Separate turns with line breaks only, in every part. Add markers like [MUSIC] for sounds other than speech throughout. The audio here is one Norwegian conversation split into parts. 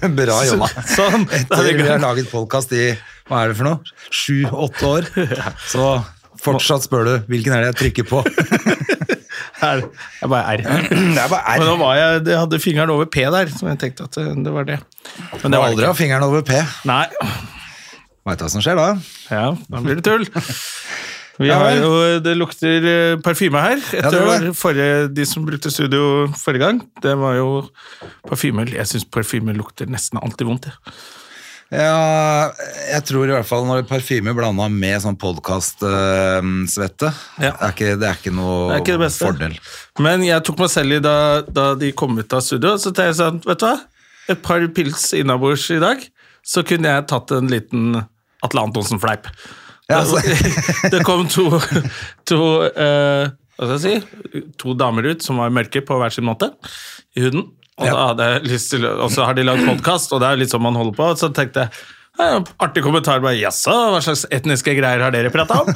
Bra jobba.
Sånn. [LAUGHS] Da
Etter
hadde
vi
jeg
har
glemt.
laget podkast i hva er det for noe? sju-åtte år, så fortsatt spør du hvilken er det jeg
[CLEARS THROAT]
trykker på.
Her. Jeg bare er.
Det er bare
Men nå
R.
var jeg, jeg hadde fingeren over P der, så jeg tenkte at eh, det var det. Men
Du
det
må
var
aldri
det
ha fingeren over P.
ikke. Nei.
Veit du hva som skjer da?
Ja, da blir det tull. Vi
Ja
har
vel.
jo, det lukter eh, parfyme her.
det
Etter
gjør det.
vår forrige, de som brukte studio forrige gang, det var jo parfyme. Jeg syns parfyme lukter nesten alltid vondt. jeg.
Ja, jeg tror i hvert fall når parfyme blanda med sånn podkast-svette
Ja.
er ikke, Det er ikke
Det
noe
er ikke det beste.
fordel. [LAUGHS]
Men jeg tok meg selv i da, da de kom ut av studio, så tenkte jeg sånn, vet du hva? Et par pils innabords i dag, så kunne jeg tatt en liten Atle Antonsen-fleip.
Ja,
[LAUGHS] det, det kom to, to eh, hva skal jeg si, to damer ut som var mørke på hver sin måte i huden. Og, da hadde jeg lyst til, å- og så har de lagd podkast, og det er jo litt sånn man holder på. Og så tenkte jeg ja, Artig kommentar. bare, Jaså, hva slags etniske greier har dere prata om?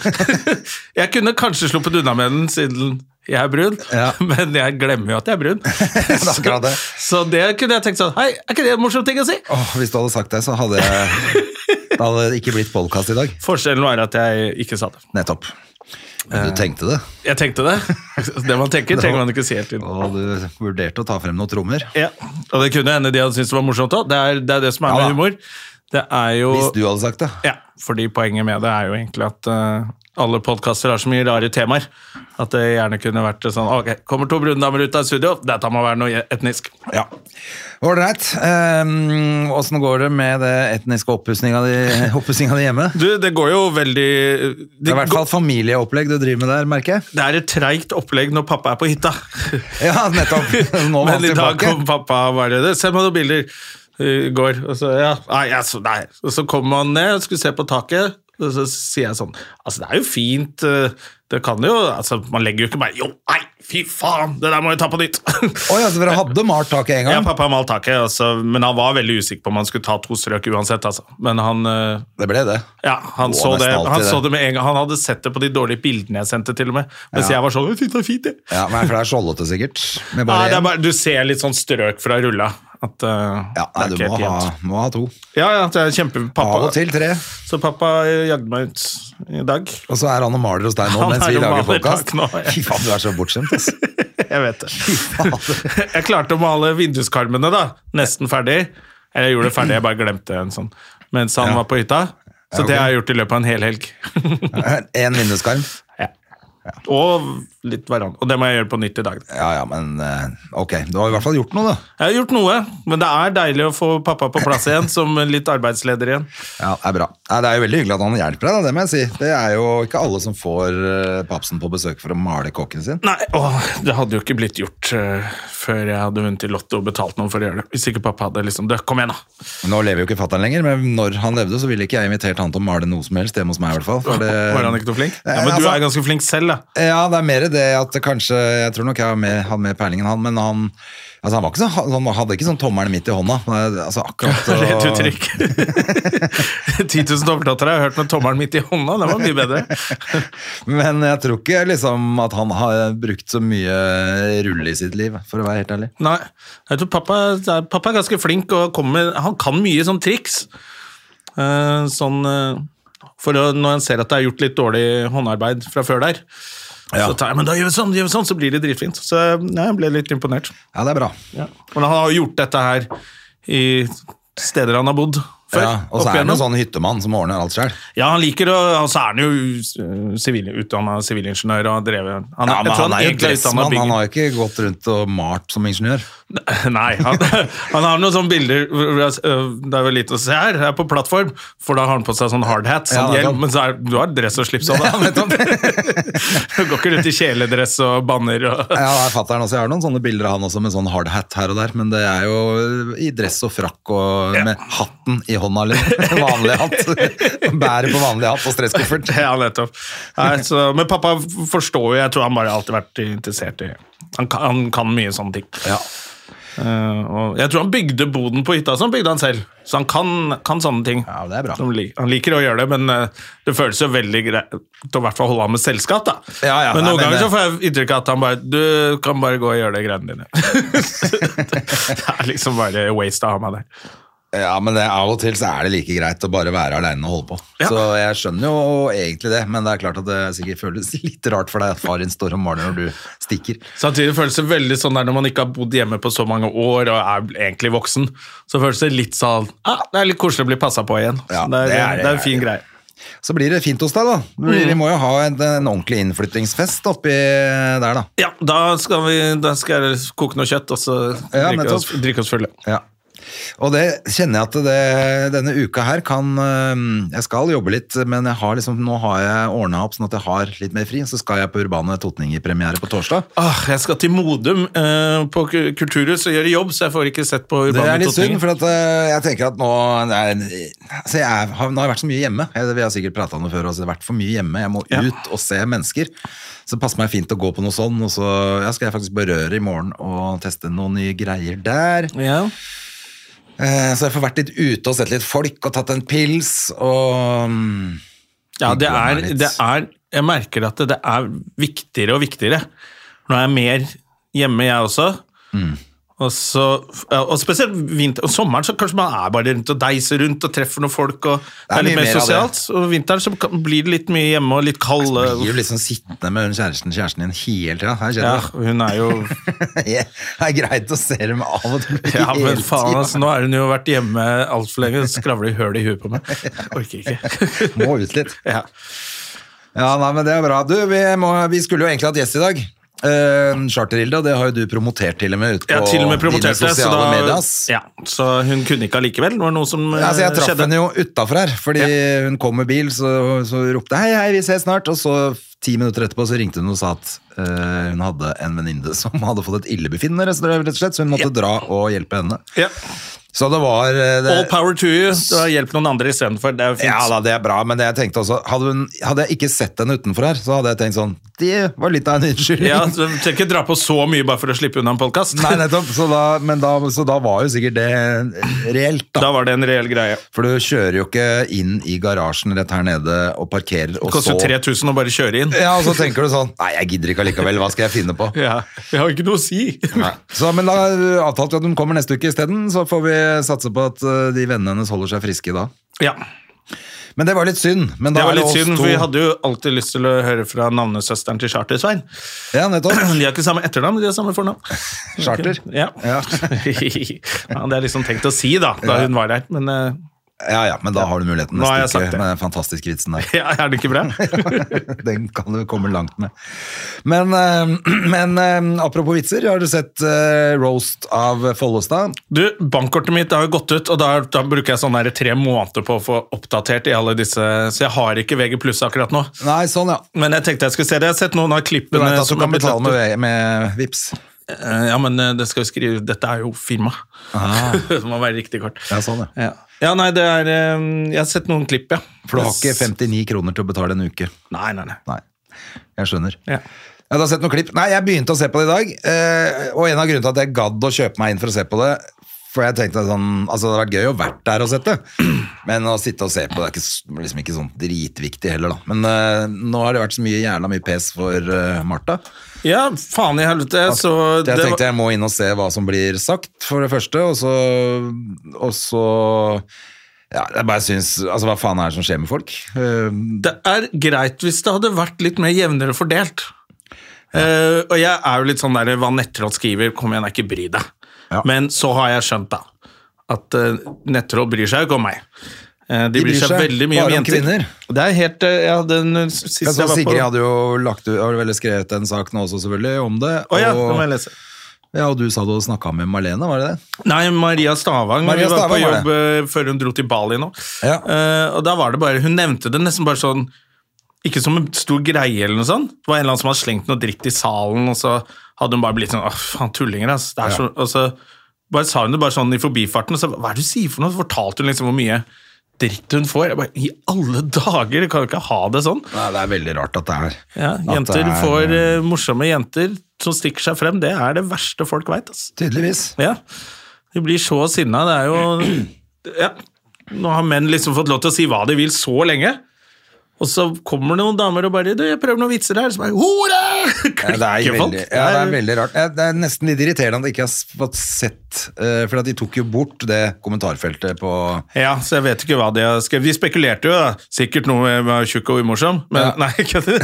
[LAUGHS] jeg kunne kanskje sluppet unna med den, siden jeg er brun,
Ja.
[LAUGHS] men jeg glemmer jo at jeg er brun.
er akkurat det.
Så, så det kunne jeg tenkt sånn Hei, er ikke det en morsom ting å si?
Åh, hvis du hadde sagt det, så hadde jeg, det hadde det ikke blitt podkast i dag.
Forskjellen var at jeg ikke sa det.
Nettopp. Men
Eh.
du tenkte det,
Jeg tenkte det. [LAUGHS] Det man tenker, trenger man ikke si hele tiden.
og du vurderte å ta frem noen trommer.
Ja, og det kunne hende de hadde syntes det var morsomt òg. Det, er- det er det som er
Ja
med
da.
humor. Det er jo
Hvis du hadde sagt det.
Ja, fordi poenget med det er jo egentlig at eh, alle podkaster har så mye rare temaer at det gjerne kunne vært sånn Ok, kommer to brune damer ut av studio, dette må være noe etnisk.
Ja. Ålreit. Ehm, Åssen går det med det etniske oppussinga di, [LAUGHS] oppussinga di hjemme?
Du, det går jo veldig
Det
Det,
er i hvert fall familieopplegg du driver med der, merker jeg.
det er et treigt opplegg når pappa er på hytta.
[LAUGHS] Ja, nettopp. Nå var han
Men i dag
tilbake.
kom pappa og bare det, Se meg noen bilder i går. Og så, ja, nei, altså, nei. Og så kom han ned og skulle se på taket, og så sier jeg sånn Altså, det er jo fint. eh, Det kan jo altså, Man legger jo ikke bare Jo, nei, fy faen! Det der må vi ta på nytt. [LAUGHS]
Å ja, så dere hadde malt taket en
Ja,
gang?
pappa malte taket, altså, men han var veldig usikker på om han skulle ta to strøk uansett. Altså. Men han, eh,
Det ble det.
ja, han,
Å,
så
nesten
det,
alltid
han
det.
så det med en gang. Han hadde sett det på de dårlige bildene jeg sendte, til og med. Mens jeg var sånn «Jeg synes det er fint, jeg».
Ja, men For det er skjoldete, sikkert. Med
Nei,
bare
det er
én.
bare, du ser litt sånn strøk fra rulla. At, eh,
Ja, nei, du
det er
må
ikke helt
ha,
jevnt.
må ha to.
Ja, ja, det er kjempe
Av
pappa.
og til tre.
Så pappa eh, jagde meg ut i
[LAUGHS]
dag.
Og så er han og maler hos deg nå
Han
mens
er
vi
og
lager
maler
podkast.
tak nå, ja.
[LAUGHS] Fy faen, du er så bortskjemt, ass.
Jeg vet det. [LAUGHS] Jeg klarte å male vinduskarmene, da. Nesten ferdig. Eller jeg gjorde det ferdig, jeg bare glemte en sånn. Mens han var på hytta. Så
Ja, ok.
det har jeg gjort i løpet av en hel helg. [LAUGHS]
Én vinduskarm.
Og litt hverandre. Og det må jeg gjøre på nytt i dag. da.
Ja ja, men eh, ok. Du har i hvert fall gjort noe, da.
Jeg har gjort noe, men det er deilig å få pappa på plass igjen, som litt arbeidsleder igjen.
Ja, Det er bra. Nei, det er jo veldig hyggelig at han hjelper deg, da, det må jeg si. Det er jo ikke alle som får eh, papsen på besøk for å male kokken sin.
Nei, åh, det hadde jo ikke blitt gjort eh, før jeg hadde vunnet i Lotto og betalt noen for å gjøre det. Hvis ikke pappa hadde liksom det, Kom igjen, da!
Nå lever jo ikke fatter'n lenger, men når han levde, så ville ikke jeg invitert han til å male noe som helst hjemme hos meg, i hvert fall. For det,
[LAUGHS] Var han ikke noe flink? Ja,
Nei,
men du
altså-
er ganske flink selv, da.
Ja, det er mer det at det kanskje Jeg tror nok jeg har med, hadde med peilingen han, men han, altså han, var ikke så, han hadde ikke sånn tommelen midt i hånda. men, Altså
[LAUGHS]
akkurat og-
Rett uttrykk. [LAUGHS] 10 000 tommeltotter har jeg hørt med tommelen midt i hånda, det var mye bedre.
Men jeg tror ikke liksom at han har brukt så mye rulle i sitt liv, for å være helt ærlig.
Nei, jeg tror pappa, pappa er ganske flink og kommer, han kan mye sånn triks. Eh, sånn, eh, for å, når han ser at det er gjort litt dårlig håndarbeid fra før der,
Ja.
så tar jeg, men da gjør vi sånn, gjør vi sånn, så blir det dritfint. Så eh, ja, jeg ble litt imponert.
Ja, det er bra.
Men han har jo gjort dette her i steder han har bodd før.
Ja, og
opp
så er sånn- han en
igjennom.
sånn hyttemann som ordner alt sjøl.
Ja, han liker å Og så er han jo sivil, utdanna sivilingeniør og har drevet han,
Ja,
jeg
men
tror
han er jo
egentlig er utdannet
dressmann,
bygger-
han har jo ikke gått rundt og malt som ingeniør.
[LAUGHS] Nei, han, [LAUGHS] han har noen sånne bilder hvor- hvor jeg- øh, Det er vel lite å se her, jeg er på plattform, for da har han på seg sånn hardhat, sånn
Ja, nettopp.
hjelm, men så er, du har dress og
[LAUGHS]
slips òg, da. du [LAUGHS] går ikke rundt i kjeledress og banner og
Ja, det er fatteren også. Jeg har noen sånne bilder av han også med sånn hard hat her og der, men det er jo i dress og frakk og med hatten i hånda, eller [LAUGHS] vanlig hatt. [LAUGHS] Bærer på vanlig hatt og stresskoffert.
[LAUGHS] Ja, nettopp. Nei, så, men pappa forstår jo, jeg tror han bare har alltid vært interessert i Han kan, han kan mye sånne ting.
Ja.
Eh, og jeg tror han bygde boden på hytta, så han bygde han selv. Så han kan, kan sånne ting.
Ja, det er bra.
Som li- Han liker å gjøre det, men eh, det føles jo veldig greit til å i hvert fall holde ham med selskap. da.
Ja, ja,
men
nei,
noen
men eh,
ganger
det-
så får jeg inntrykk av at han bare Du kan bare gå og gjøre de greiene dine. [LAUGHS] det er liksom bare waste å ha meg der.
Ja, men det, av og til så er det like greit å bare være aleine og holde på.
Ja.
Så jeg skjønner jo egentlig det, men det er klart at det sikkert føles [LAUGHS] litt rart for deg at far din står og maler når du stikker.
Samtidig føles det veldig sånn der når man ikke har bodd hjemme på så mange år og er egentlig voksen, så føles det litt sånn ah, Det er litt koselig å bli passa på igjen.
Ja,
Så det, er,
det
det,
er det,
er, en
det er
fin
det.
greie.
Så blir det fint hos deg, da. Vi- Vi må jo ha en, en ordentlig innflyttingsfest oppi der, da.
Ja, da skal, vi, da skal jeg koke noe kjøtt og så
Ja,
drikke, oss,
nettopp.
drikke oss fulle.
Ja. Og det kjenner jeg at det, denne uka her kan øhm, Jeg skal jobbe litt, men jeg har liksom, nå har jeg ordna opp sånn at jeg har litt mer fri. Så skal jeg på Urbane Totninger-premiere på torsdag.
Åh, Ah, jeg skal til Modum eh, på ku- Kulturhus og gjøre jobb, så jeg får ikke sett på
Det
Urbane
er litt synd,
Totninger.
for at, øh, jeg tenker at nå det er, altså jeg er, har, Nå har jeg vært så mye hjemme. Jeg, vi har sikkert prata om det før. Altså, det har vært for mye hjemme. Jeg må ut
Ja.
og se mennesker. Så det passer meg fint å gå på noe sånn. Og så ja, skal jeg faktisk berøre i morgen og teste noen nye greier der.
Ja.
Eh, så jeg får vært litt ute og sett litt folk og tatt en pils og mm,
ja, det
Hyggelig å
er,
være litt-
det er Jeg merker at det, det er viktigere og viktigere. Nå er jeg mer hjemme, jeg også.
Mm.
Og, så, og spesielt vinter, og sommeren, så kanskje man er bare rundt og deiser rundt og treffer noen folk. og Det er litt
mye
mer
mer av
sosialt. Og vinteren så kan- blir det litt mye hjemme og litt kald.
blir jo liksom sittende med hun kjæresten kjæresten din hele tida. Her
Ja,
[LAUGHS] skjer
hun er jo
det. Det er greit å se dem av og til.
Ja, men
hele
faen,
tiden.
altså, nå har hun jo vært hjemme altfor lenge, så skravler hun høl i huet på
[LAUGHS]
meg. Orker ikke. [LAUGHS]
Må ut litt.
Ja.
Ja, nei, men det er bra. Du, vi, må, vi skulle jo egentlig hatt gjest i dag. Uh, Charter-Hilda, det har jo du promotert til og med ut på
Jeg har til og med promotert
dine
det, så,
sosiale
da,
medier. ass.
ja, så hun kunne ikke allikevel. Det var noe som eh,
Ja, altså, jeg traff
skjedde.
henne jo utafor her, fordi hun kom med bil, så, så ropte hei, hei, vi ses snart. Og så ti minutter etterpå så ringte hun og sa at eh, hun hadde en venninne [LAUGHS] som hadde fått et illebefinnende, rett og slett, så hun måtte dra og hjelpe henne.
Ja.
Så det var eh, det,
All power to you. Du har hjulpet noen andre istedenfor. Det er jo fint.
Ja da, det er bra, men det jeg tenkte også Hadde, hun, hadde jeg ikke sett henne utenfor her, så hadde jeg tenkt sånn Det var litt av en unnskyldning. [LAUGHS]
Ja, så du trenger ikke dra på så mye bare for å slippe unna en podkast.
Nei, nettopp. Så da, men da, så da var jo sikkert det reelt,
[LAUGHS]
da.
Da var det en reell greie.
For du kjører jo ikke inn i garasjen rett her nede og parkerer,
Det
og
koster
så
jo 3000 å bare kjøre inn.
Ja, og så tenker du sånn Nei, jeg gidder ikke allikevel, hva skal jeg finne på?
Ja, Jeg har ikke noe å si.
Så, men da avtalte vi at hun kommer neste uke isteden, så får vi satse på at eh, de vennene hennes holder seg friske da.
[LAUGHS] Ja,
Men det var litt synd. Men da
Det var
er
litt
oss
synd,
to-
for vi hadde jo alltid lyst til å høre fra navnesøsteren til Charter-Svein.
Ja, nettopp.
De har ikke samme etternavn, de har samme fornavn.
Charter.
[CLEARS THROAT] Ja.
Ja.
[LAUGHS] ja. det hadde jeg liksom tenkt å si da, da hun var her, men eh,
Ja, ja, men da har du muligheten
Nå har jeg
neste
sagt
uke
det.
med den fantastiske vitsen der. [LAUGHS]
ja, er det ikke bra?
Den kan du komme langt med. Men, eh, [CLEARS THROAT] men eh, apropos vitser, har du sett eh, roast av Follestad?
Du, bankkortet mitt har jo gått ut, og da, da bruker jeg sånn der tre måneder på å få oppdatert i alle disse, så jeg har ikke VG pluss akkurat nå.
Nei, sånn ja.
Men jeg tenkte jeg skulle se det. Jeg har sett noen av klippene
Du vet at du
som
kan
har blitt lagt
betale
ut.
med, med VIPs.
Eh, Ja, men eh, det skal jo skrive Dette er jo firma. [LAUGHS] det må være riktig kort.
Ah. Ja, sånn, ja.
Ja. ja, nei, det er eh, Jeg har sett noen klipp, ja.
For du har ikke 59 kroner til å betale en uke.
Nei, nei, nei.
Nei, jeg skjønner.
Ja.
Jeg har sett noen klipp. Nei, jeg begynte å se på det i dag, eh, og en av grunnene til at jeg gadd å kjøpe meg inn for å se på det, for jeg tenkte sånn, altså det hadde vært gøy å vært der og sett det, men å sitte og se på det er ikke, s- liksom ikke sånn dritviktig heller da. Men eh, nå har det vært så mye jævla mye pes for eh, Martha.
Ja, faen i helvete. Så
Altså, Jeg
det var-
tenkte jeg må inn og se hva som blir sagt, for det første, og så, og så ja, jeg bare synes, altså hva faen er det som skjer med folk? Eh,
Det er greit hvis det hadde vært litt mer jevnere fordelt. Eh, og jeg er jo litt sånn der hva Nettroll skriver, kom igjen, jeg ikke bry deg.
Ja.
Men så har jeg skjønt, da, at eh, nettroll bryr seg jo ikke om meg. Eh, de, bryr seg, veldig mye om
bare om
jenter.
kvinner.
Det er helt, eh, jeg hadde en eh, sist
Jeg
jeg
så
var på...
Sigrid hadde jo lagt, ut- har vel skrevet en sak nå også, selvfølgelig, om det.
Å ja, nå må jeg
og,
lese.
ja, og du sa du hadde snakka med Marlene, var det det?
Nei, Maria Stavang
Maria
vi var på
Stavang var det.
jobb eh, før hun dro til Bali nå.
Ja.
Eh, og da var det bare, Hun nevnte det nesten bare sånn Ikke som en stor greie, eller noe sånt. Det var en eller annen som hadde slengt noe dritt i salen, og så hadde hun bare blitt sånn Åh, faen, tullinger, ass. Det er så, og så bare sa hun det bare sånn i forbifarten, og så hva er det du sier for noe? Så fortalte hun liksom hvor mye dritt hun får. Jeg bare, I alle dager! Du kan jo ikke ha det sånn.
Nei, det er veldig rart at det er
Ja,
at
jenter
det er-
får eh, Morsomme jenter som stikker seg frem, det er det verste folk veit, ass.
Tydeligvis.
Ja. De blir så sinna. Det er jo [CLEARS THROAT] ja. Nå har menn liksom fått lov til å si hva de vil så lenge. Og så kommer det noen damer og bare du, 'Jeg prøver noen vitser her.' Så bare 'Hore!'
Ja,
Klikker
det, er
folk.
veldig, ja, det er veldig rart. Ja, Det er nesten litt irriterende at jeg ikke har fått sett eh, For at de tok jo bort det kommentarfeltet på
Ja, så jeg vet ikke hva de har skrevet. De spekulerte jo, da. Sikkert noe med med tjukk og umorsom, men
Ja.
nei, ikke det.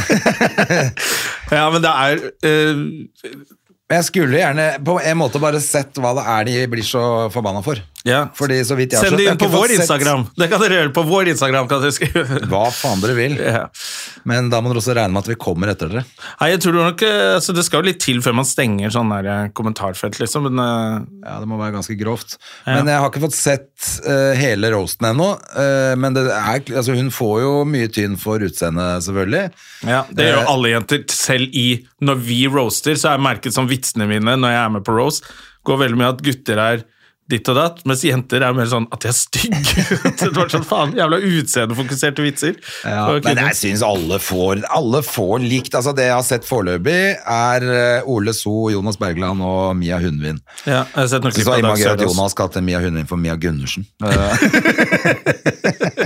[LAUGHS]
ja, men det er eh,
Men Jeg skulle gjerne på en måte bare sett hva det er de blir så forbanna for.
Ja.
Fordi så vidt jeg har
Send det
skjønt,
inn på
jeg har
vår
ikke fått sett
Instagram! Det kan dere gjøre på vår Instagram, kan dere skrive.
Hva faen dere vil.
Ja.
Men da må dere også regne med at vi kommer etter dere.
Nei, jeg tror nok, eh, altså Det skal jo litt til før man stenger sånn der eh, kommentarfelt, liksom. Men eh,
Ja, det må være ganske grovt. Men jeg har ikke fått sett eh, hele roasten ennå. eh, men det er, altså, hun får jo mye tynn for utseendet, selvfølgelig.
ja, det gjør jo alle jenter. Selv i Når vi roaster, så er jeg merket som vitsene mine når jeg er med på roast, går veldig mye at gutter er ditt og datt, mens jenter er mer sånn at jeg er stygg. [LAUGHS] Så det var sånn, faen, Jævla utseendefokuserte vitser.
Ja,
Og
men
kvinner.
jeg syns alle får Alle får likt. Altså Det jeg har sett foreløpig, er eh, Ole So, Jonas Bergland og Mia Hundvin.
ja, jeg har sett noen
Så
klipp av
det var
Dag
gøy at
Sørås.
Jonas kalte Mia Hundvin for Mia Gundersen. [LAUGHS] Eh,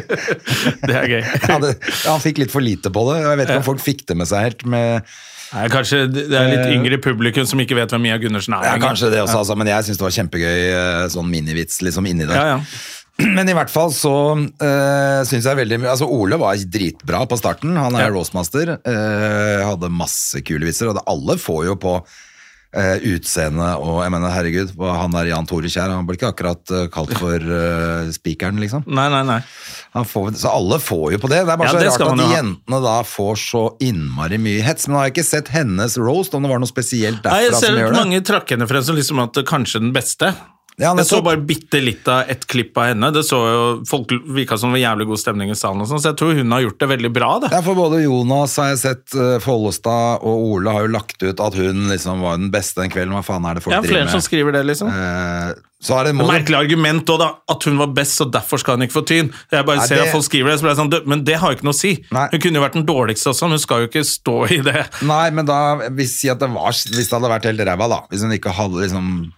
Det er gøy.
[LAUGHS] ja, det, han fikk litt for lite på det. og Jeg vet ikke om folk fikk det med seg helt. Med,
Nei, kanskje det er litt yngre publikum som ikke vet hvem Mia Gundersen er.
Eh. ja,
engang.
kanskje det også, altså, men jeg syns det var kjempegøy eh, sånn minivits liksom inni der.
Ja, ja.
[CLEARS THROAT] Men i hvert fall så uh, syns jeg veldig mye Altså, Ole var dritbra på starten. Han er
Ja.
roastmaster. eh, hadde masse kule vitser, og det, alle får jo på uh, utseende og Jeg mener, herregud, hva- han der Jan Tore Kjær, han blir ikke akkurat eh, kalt for eh, spikeren, liksom.
Nei, nei, nei.
Han får, så alle får jo på det. Det er
Ja,
bare
det
så
skal
rart at
man jo ha.
jentene da får så innmari mye hets. Men nå har jeg ikke sett hennes roast, om det var noe spesielt
Nei, jeg
derfra
ser
som
at
gjør det.
mange trakk henne frem som liksom at det kanskje den beste.
Ja,
jeg så
nettopp.
bare bitte litt av et klipp av henne. Det så jo, Folk virka som det var jævlig god stemning i salen, og sånn, så jeg tror hun har gjort det veldig bra. Da.
Ja, for både Jonas har jeg sett, eh, Follestad og Ole har jo lagt ut at hun liksom var den beste den kvelden. Hva faen er det folk
Ja, flere
driver
som
med?
skriver det, liksom.
Eh, Så er det må
Merkelig argument òg, da. At hun var best, så derfor skal hun ikke få tyn. Jeg bare
Nei,
ser
det-
at folk skriver det, så blir jeg sånn, «Du, Men det har jo ikke noe å si.
Nei.
Hun kunne jo vært den dårligste også, men hun skal jo ikke stå i det.
Nei, men da hvis, si at det var, hvis det hadde vært helt ræva, da. Hvis hun ikke hadde liksom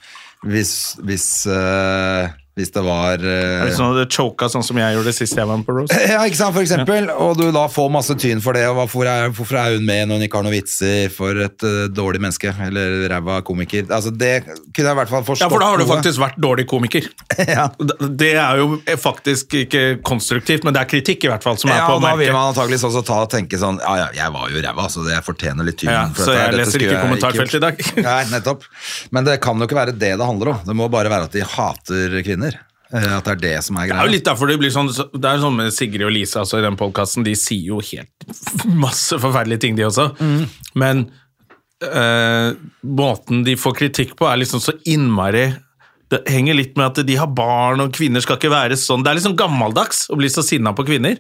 Hvis, hvis, eh, hvis det var eh,
Hvis hun hadde choka sånn som jeg gjorde sist jeg var med på Rose.
[LAUGHS] Ja, ikke sant, for eksempel. Og du da får masse tyn for det, og hvorfor er, hvorfor er hun med når hun ikke har noen vitser for et eh, dårlig menneske, eller ræva komiker? Altså, det kunne jeg i hvert fall forstått.
Ja, for da har du
noe.
faktisk vært dårlig komiker.
[LAUGHS] Ja.
Det er jo faktisk ikke konstruktivt, men det er kritikk i hvert fall som er
Ja,
på
og da vil
merket.
man antageligvis også ta og tenke sånn, ja, ja, jeg var jo ræva, så jeg fortjener litt tyn.
Ja,
for
så
dette her.
jeg
Dette
leser
skulle
ikke kommentarfeltet
gjort.»
i dag.
Nei, nettopp. Men det kan jo ikke være det det handler om. Det må bare være at de hater kvinner. Eh, At det er det som er
Det er jo
greia.
litt derfor det blir sånn Det er sånn med Sigrid og Lisa altså, i den podkasten. De sier jo helt [LAUGHS] masse forferdelige ting, de også. Men eh, måten de får kritikk på, er liksom så innmari det henger litt med at de har barn, og kvinner skal ikke være sånn. Det er liksom gammeldags å bli så sinna på kvinner.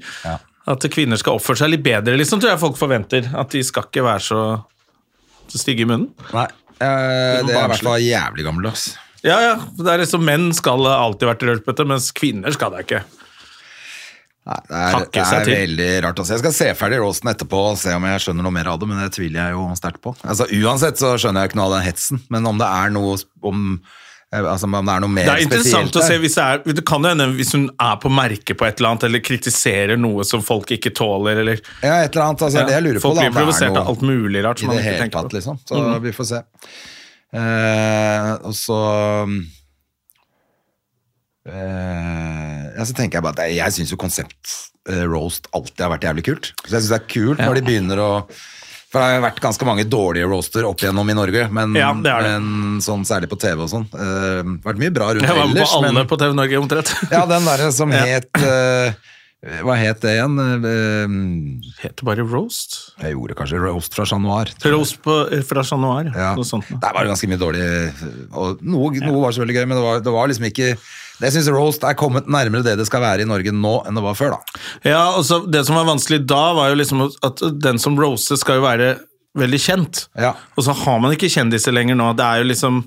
At kvinner skal oppføre seg litt bedre, liksom, tror jeg folk forventer. At de skal ikke være så, så stygge i munnen.
Nei, eh, det er i
Barnslig.
hvert fall jævlig gammeldags.
Ja, ja. Det er liksom, menn skal alltid vært rølpete, mens kvinner skal det ikke.
Nei, det er,
Takke
det
seg
er
til.
veldig rart å se. Jeg skal se ferdig roasten etterpå og se om jeg skjønner noe mer av det, men det tviler jeg jo sterkt på. Altså, uansett så skjønner jeg ikke noe av den hetsen, men om det er noe om eh, Altså, om det er noe mer
Det er interessant
spesielt
å se
der.
hvis det, er, det kan jo hende hvis hun er på merket på et eller annet, eller kritiserer noe som folk ikke tåler, eller
Ja, et eller annet. Altså, det jeg lurer på,
Folk blir
da, om det er
provosert
noe-
av alt mulig rart.
i
Som
det
man ikke
hele
tenker
tatt,
på. Mm.
liksom. Så vi får se. Eh, og så eh, Ja, så tenker jeg bare at jeg, jeg syns jo konsept eh, roast alltid har vært jævlig kult. Så jeg syns det er kult når de begynner å For det har jo vært ganske mange dårlige roaster opp igjennom i Norge, men,
Ja, det er det.
men sånn særlig på TV og sånn. Eh, vært mye bra rundt
Jeg var med
ellers,
på alle
men
på TV Norge omtrent.
Ja, den derre som het eh, Hva het det igjen? Eh,
[LAUGHS] Heter bare Roast.
jeg gjorde kanskje Roast fra Chat Noir. tror jeg.
Roast på, fra Chat Noir.
Ja.
Noe sånt.
Der var det ganske mye dårlig og noe, noe var selvfølgelig gøy, men det var, det var liksom ikke Jeg syns roast er kommet nærmere det det skal være i Norge nå enn det var før, da.
Ja, altså Det som var vanskelig da, var jo liksom at den som roaster, skal jo være veldig kjent.
Ja.
Og så har man ikke kjendiser lenger nå. Det er jo liksom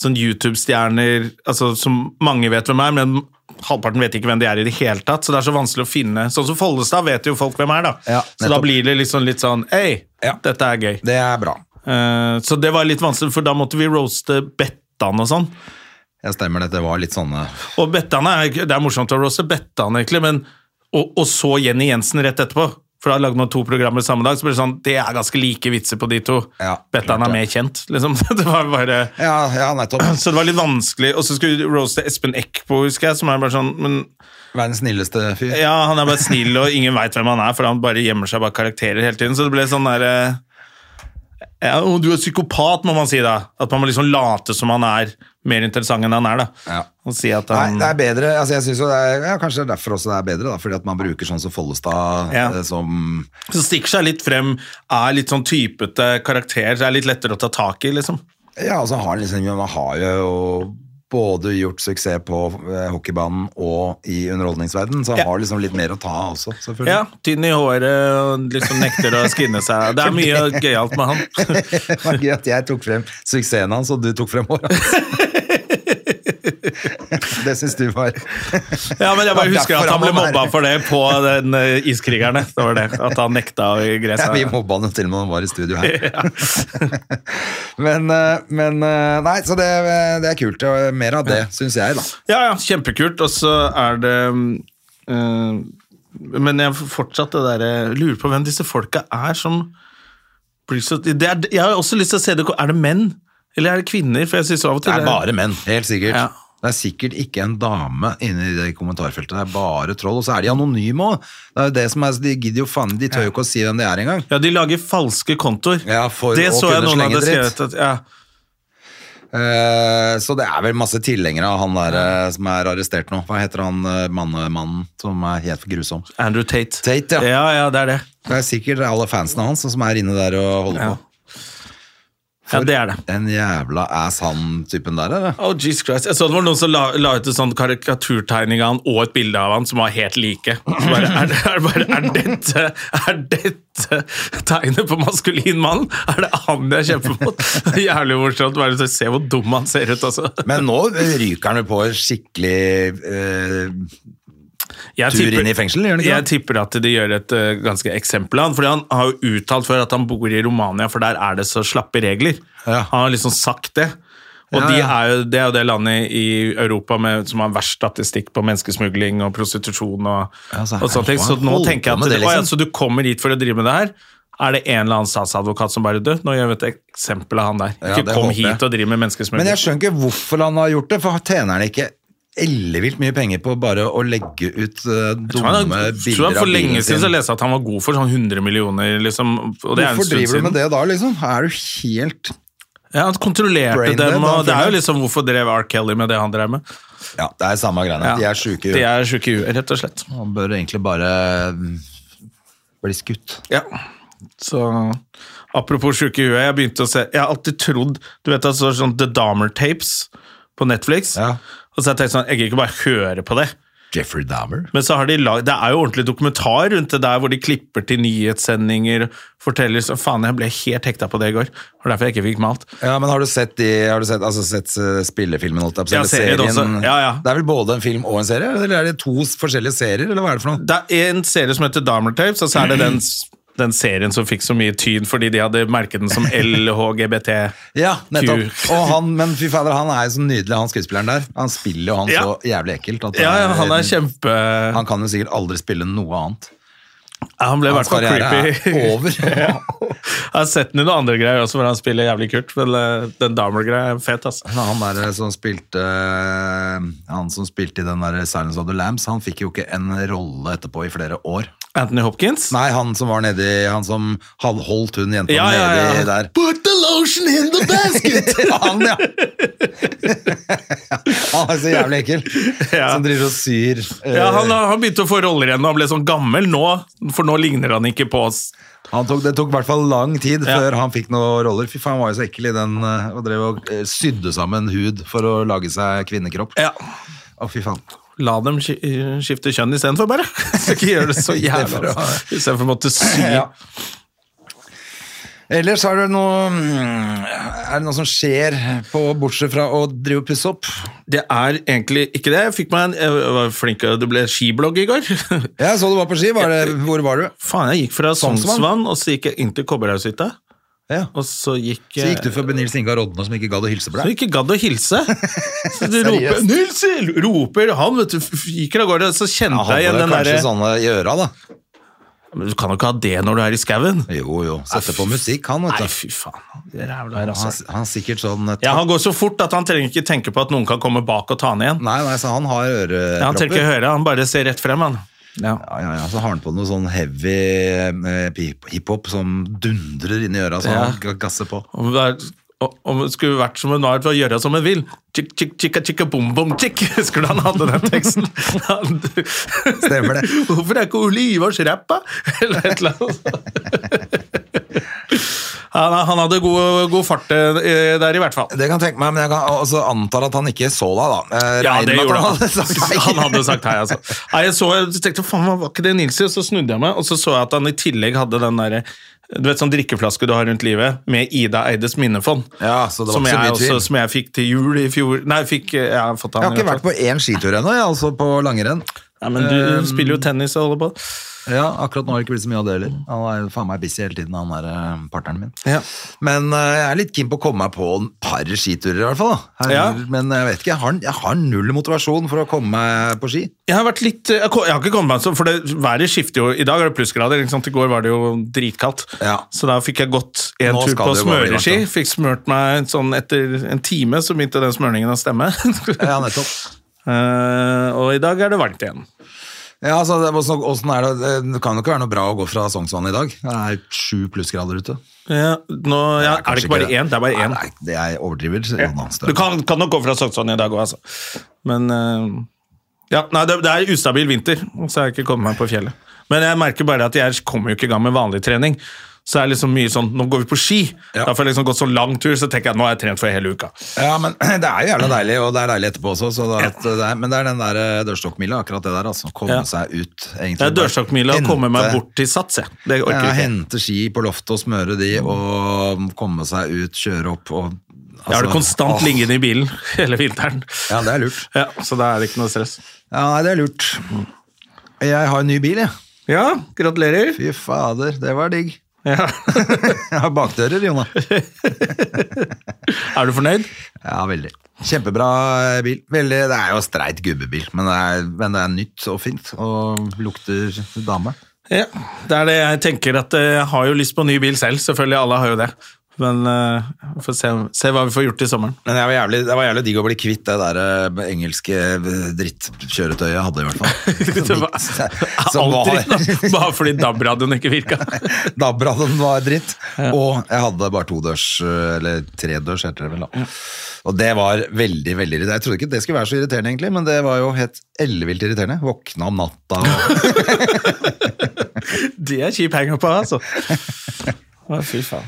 sånn YouTube-stjerner altså som mange vet hvem er, men halvparten vet ikke hvem de er i det hele tatt. Så det er så vanskelig å finne Sånn som Follestad vet jo folk hvem er, da.
Ja,
så da
nettopp.
blir det liksom litt sånn Hei,
Ja.
dette er gøy.
Det er bra.
Eh, så det var litt vanskelig, for da måtte vi roaste Bettan og sånn.
Jeg stemmer det. Det var litt sånne
Og Bettan er, det er morsomt å roaste Bettan, egentlig, men, og, og så Jenny Jensen rett etterpå. For da lagde man to programmer samme dag, så ble det sånn Det er ganske like vitser på de to.
Ja,
Bettan
klart
er
det.
mer kjent, liksom. [LAUGHS] Det var bare
Ja, ja nettopp.
Så det var litt vanskelig. Og så skulle vi roaste Espen Eckbo, husker jeg, som er bare sånn Men
Verdens snilleste fyr.
ja, han er bare snill, og ingen veit hvem han er, for han bare gjemmer seg bak karakterer hele tiden. Så det ble sånn derre ja, og Du er psykopat, må man si da. At man må liksom late som han er mer interessant enn han er. da.
Ja.
Og si at
Nei,
han...
det er bedre. Altså, jeg synes jo det er, ja, kanskje det er derfor også det er bedre, da, fordi at man bruker sånn som Follestad
Ja.
eh, som
Så stikker seg litt frem, er litt sånn typete karakter, så er litt lettere å ta tak i, liksom.
Ja, og så har han liksom Man har jo både gjort suksess på eh, hockeybanen og i underholdningsverdenen, så han
Ja.
har liksom litt mer å ta av også, selvfølgelig.
Ja, tynn i håret og liksom nekter å skinne seg. Det er
[LAUGHS]
mye gøyalt med han.
Det var gøy at jeg tok frem suksessen hans, og du tok frem
[LAUGHS]
håret hans. Det syns du var
Ja, men jeg bare
Det var
husker
derfor
at han ble
må være-
mobba for det på den eh, Iskrigerne. Det var det, at han nekta å gre
ja,
seg.
Vi mobba han jo til og med når han var i studio her. [LAUGHS] Men, eh, men eh, Nei, så det, det er kult. og Mer av det, syns jeg, da.
Ja, ja, kjempekult. Og så er det eh, Men jeg fortsatt det derre Lurer på hvem disse folka er som blir så det er, Jeg har også lyst til å se det Er det menn? Eller er det kvinner? For jeg synes av og til
Det er bare menn, helt sikkert.
Ja.
Det er sikkert ikke en dame inne i det kommentarfeltet. Det er bare troll. Og så er de anonyme òg. Det er jo det som er, de gidder jo faen De tør jo ikke å si hvem det er engang.
Ja, de lager falske kontoer.
Ja, for
det
å
så jeg
kunne
noen
slenge
hadde
dritt.
skrevet. At, ja.
Eh, Så det er vel masse tilhengere av han der eh, som er arrestert nå. Hva heter han eh, mannemannen som er helt grusom?
Andrew Tate.
Tate, ja.
ja. Ja, det er det.
Det er sikkert alle fansene hans som er inne der og holder
Ja.
på.
Ja, det er det.
Den jævla ass han-typen der, eh. eller?
Oh, Jesus Christ. Jeg så det var noen som la, la ut en sånn karikaturtegning av han og et bilde av han som var helt like. Så bare, er, det- er, det bare, er, dette, er dette tegnet på maskulin mann? Er det han jeg kjemper mot? Jævlig morsomt. Bare så Se hvor dum han ser ut, altså.
Men nå ryker han jo på en skikkelig eh,
Jeg
Tur inn i fengsel, gjør han ikke
Jeg
det?
tipper at de gjør et eh, ganske eksempel av han, fordi han har jo uttalt før at han bor i Romania, for der er det så slappe regler.
Ja.
Han har liksom sagt det. Og
Ja,
de
ja.
er jo, det er jo det landet i Europa med, som har verst statistikk på menneskesmugling og prostitusjon og,
Ja, så
og sånne ting. Så
han
nå
holder
tenker
på
jeg
med
at det,
det, liksom.
å, ja, så du kommer hit for å drive med det her. Er det en eller annen statsadvokat som bare død? Nå gjør vi et eksempel av han der.
Ja,
Ikke
det
kom
håper jeg.
hit og driv med
Men
menneskesmugling.
jeg skjønner ikke hvorfor han har gjort det, for tjener han ikke ellevilt mye penger på bare å legge ut eh,
tror han,
dumme
tror han
bilder
for
av bilen
lenge siden så
sin?
leste jeg at han var god for sånn 100 millioner, liksom. Og det er en
Hvorfor
stund
driver du
siden.
med det da, liksom? Er du helt
Ja, han kontrollerte
Braindead,
dem,
han
og det er jo
fyren.
liksom hvorfor drev R. Kelly med det han drev med.
Ja, det er samme greiene.
Ja.
De er sjuke.
De
jo.
er sjuke i huet, rett og slett.
Han bør egentlig bare mm, bli skutt.
Ja. Så apropos sjuke i huet, jeg begynte å se Jeg har alltid trodd Du vet at det står sånn The Dahmer Tapes på Netflix,
Ja.
og så har jeg tenkt sånn Jeg gidder ikke bare høre på det.
Jeffrey Dahmer.
Men så har de lag, det er jo ordentlig dokumentar rundt det der, hvor de klipper til nyhetssendinger. forteller, så Faen, jeg ble helt hekta på det i går. Det var derfor jeg ikke fikk malt.
Ja, men har du sett, de, har du sett, altså, sett eh, spillefilmen? Holdt jeg på, å si,
Ja, serien også. Ja, ja.
Det er vel både en film og en serie? Eller er det to s- forskjellige serier, eller hva er det for noe?
Det er en serie som heter Dahmer Tapes, og så er det den, den serien som fikk så mye tyn fordi de hadde merket den [LAUGHS] som LHGBT.
Ja, nettopp.
Q.
Og han, men fy fader, han er jo så nydelig, han skuespilleren der. Han spiller jo han
Ja.
så jævlig ekkelt. At det
Ja, ja, Eh, han er kjempe...
han kan jo sikkert aldri spille noe annet.
Ja, Han ble i hvert
Hans
fall
karriere
creepy.
er over. [LAUGHS]
Ja. [LAUGHS] Jeg har sett den i noen andre greier også, hvor han spiller jævlig kult, men eh, den Dahmer-greia er fet, altså.
Men han der eh, som spilte eh, Han som spilte i den der Silence of the Lambs, han fikk jo ikke en rolle etterpå i flere år.
Anthony Hopkins?
Nei, han som var nedi Han som hadde holdt hun jenta
Ja, ja, ja.
nedi der.
Put the lotion in the basket!
[LAUGHS] han, ja! han er så jævlig ekkel.
Ja.
Som driver og syr. eh,
[LAUGHS] Ja, han, han begynte å få roller igjen da han ble sånn gammel nå, for nå ligner han ikke på oss.
han tok, det tok i hvert fall lang tid
Ja.
før han fikk noen roller. Fy faen, han var jo så ekkel i den eh, og drev og eh, sydde sammen hud for å lage seg kvinnekropp.
Ja.
Å, fy faen.
La dem sk- skifte kjønn istedenfor, bare. [LAUGHS] Så ikke gjør det så jævla
Det er bra.
Istedenfor å måtte sy.
Ja. Ellers er det noe mm, Er det noe som skjer på bortsett fra å drive og pusse opp?
Det er egentlig ikke det. Jeg fikk meg en jeg var flink, det ble skiblogg i går. [LAUGHS]
Jeg så du var på ski. Var det, hvor var du?
Faen, jeg gikk fra
Sognsvann?
Sognsvann, og så gikk jeg inn til Kobberhaughytta.
Ja.
Og så gikk,
Så gikk du
jeg-
forbi Nils Ingar Rodne, som ikke gadd å hilse på
Så
deg.
ikke gadd å
[LAUGHS]
hilse. Så du roper,
Seriøst?
Nils! roper han, vet du, f- gikk av gårde. Så
Ja,
kjente
hadde
jeg igjen
vel
den
kanskje sånn.
derre
sånne i øra, da.
Men Du kan jo ikke ha det når du er i skauen.
Jo, jo. Sette på musikk, han,
Nei,
vet du.
fy faen. Det er jævla
Han,
rasshøl.
han er sikkert sånn eh,
Ja, han går så fort at han trenger ikke tenke på at noen kan komme bak og ta han igjen.
Nei, nei, så han har
Ja, han trenger
ørepropper.
ikke høre, han bare ser rett frem, han. Ja.
Ja, ja, ja, Så har han på noe sånn heavy eh, hip- hiphop som dundrer inn i øra, så
Ja.
han ga- gasser på.
Om det er- og- Om det skulle vært som hun var til å gjøre som hun vil Tjikk, tjikk, tjikka, tjikka, bom, bom, [LAUGHS] tjikk Skulle han hatt den teksten
Stemmer det.
Hvorfor er ikke Ole Ivars rappa? [LAUGHS] Eller et eller annet han, han hadde god, god fart eh, der i hvert fall
Det kan jeg tenke meg, men jeg kan også antar at han ikke så deg, da. Jeg
Ja,
regner
det
med at
gjorde
han.
han.
Hadde
[LAUGHS]
sagt nei.
Han hadde sagt hei, altså. Nei, jeg, så, jeg tenkte, faen, hva var ikke det Nilsi? Og så snudde jeg meg, og så så jeg at han i tillegg hadde den derre du vet sånn drikkeflaske du har rundt livet, med Ida Eides minnefond.
Ja, så det var
som,
ikke så
jeg
mye tvil.
også, som jeg fikk til jul i fjor. Nei, jeg fikk, jeg har fått
Jeg
han
har ikke vært på Eh, én skitur ennå, jeg, altså på langrenn.
Nei, men du spiller jo tennis og holder på.
Ja, akkurat nå har det ikke blitt så mye av det heller. Han er jo faen meg busy hele tiden, han er eh, partneren min.
Ja.
Men eh, jeg er litt keen på å komme meg på en par skiturer i hvert fall. Da. Her,
Ja.
Men jeg vet ikke, jeg har, jeg har null motivasjon for å komme meg på ski.
Jeg har vært litt, jeg ko- jeg har ikke kommet meg sånn, for det, været skifter jo, i dag er det plussgrader, ikke sant? I går var det jo dritkaldt.
Ja.
Så da fikk jeg gått en
Nå
tur
skal
på
det jo bare bli
smøreski,
varmt,
fikk smørt meg sånn etter en time, så begynte den smøringen å stemme.
Ja, nettopp.
[LAUGHS] Eh, og i dag er det varmt igjen.
Ja, altså, det, hvordan, hvordan er det? det kan jo ikke være noe bra å gå fra Sognsvann i dag. Det er sju plussgrader ute.
Ja, nå, ja, er det
kanskje
ikke bare
ikke det.
én? Det er bare én.
Nei, det jeg overdriver. så noen annen
Du
sted.
kan, kan nok gå fra Sognsvann i dag òg, altså. Men eh, ja, nei, det, det er ustabil vinter, og så har jeg ikke kommet meg på fjellet. Men jeg merker bare at jeg kommer jo ikke i gang med vanlig trening. Så er det liksom mye sånn Nå går vi på ski.
Ja.
Da får jeg liksom gått så lang tur, så tenker jeg at nå har jeg trent for hele uka.
Ja, men [CLEARS THROAT] det er jo jævla deilig, og det er deilig etterpå også. Så det er, at det er, men det er den der eh, dørstokkmila, akkurat det der. altså, Komme
Ja.
seg ut. egentlig.
Det er dørstokkmila å komme meg bort til Sats, jeg. Det
Ja,
orker jeg ikke.
hente ski på loftet og smøre de,
Mm.
og komme seg ut, kjøre opp og
Jeg har det
altså,
konstant
åh.
liggende i bilen [LAUGHS] hele vinteren.
Ja, det er lurt.
Ja, så da er det ikke noe stress.
Ja, nei, det er lurt.
Mm.
Jeg har en ny bil, jeg.
Ja, gratulerer.
Fy fader, det var digg. [LAUGHS]
Ja.
Jeg har bakdører, Jonna.
Er du fornøyd?
Ja, veldig. Kjempebra eh, bil. Veldig, det er jo streit gubbebil, men det, er, men det er nytt og fint, og lukter dame.
Ja, det er det jeg tenker at eh, jeg har jo lyst på ny bil selv, selvfølgelig alle har jo det. Men eh, vi får se, se hva vi får gjort i sommeren.
Men det var, jævlig, det var jævlig digg å bli kvitt det der eh, engelske eh, drittkjøretøyet jeg hadde, i [LAUGHS] hvert fall.
Det var
[LAUGHS] Som
[LAUGHS] alt
var-
dritt, da. bare fordi DAB-radioen ikke virka.
DAB-radioen var dritt. Og jeg hadde bare todørs, eh, eller tredørs, heter det vel. da. Og det var veldig, veldig irriterende. Jeg trodde ikke det skulle være så irriterende, egentlig, men det var jo helt ellevilt irriterende. Våkna om natta og
Det er kjip hanger på, altså. Å, fy faen.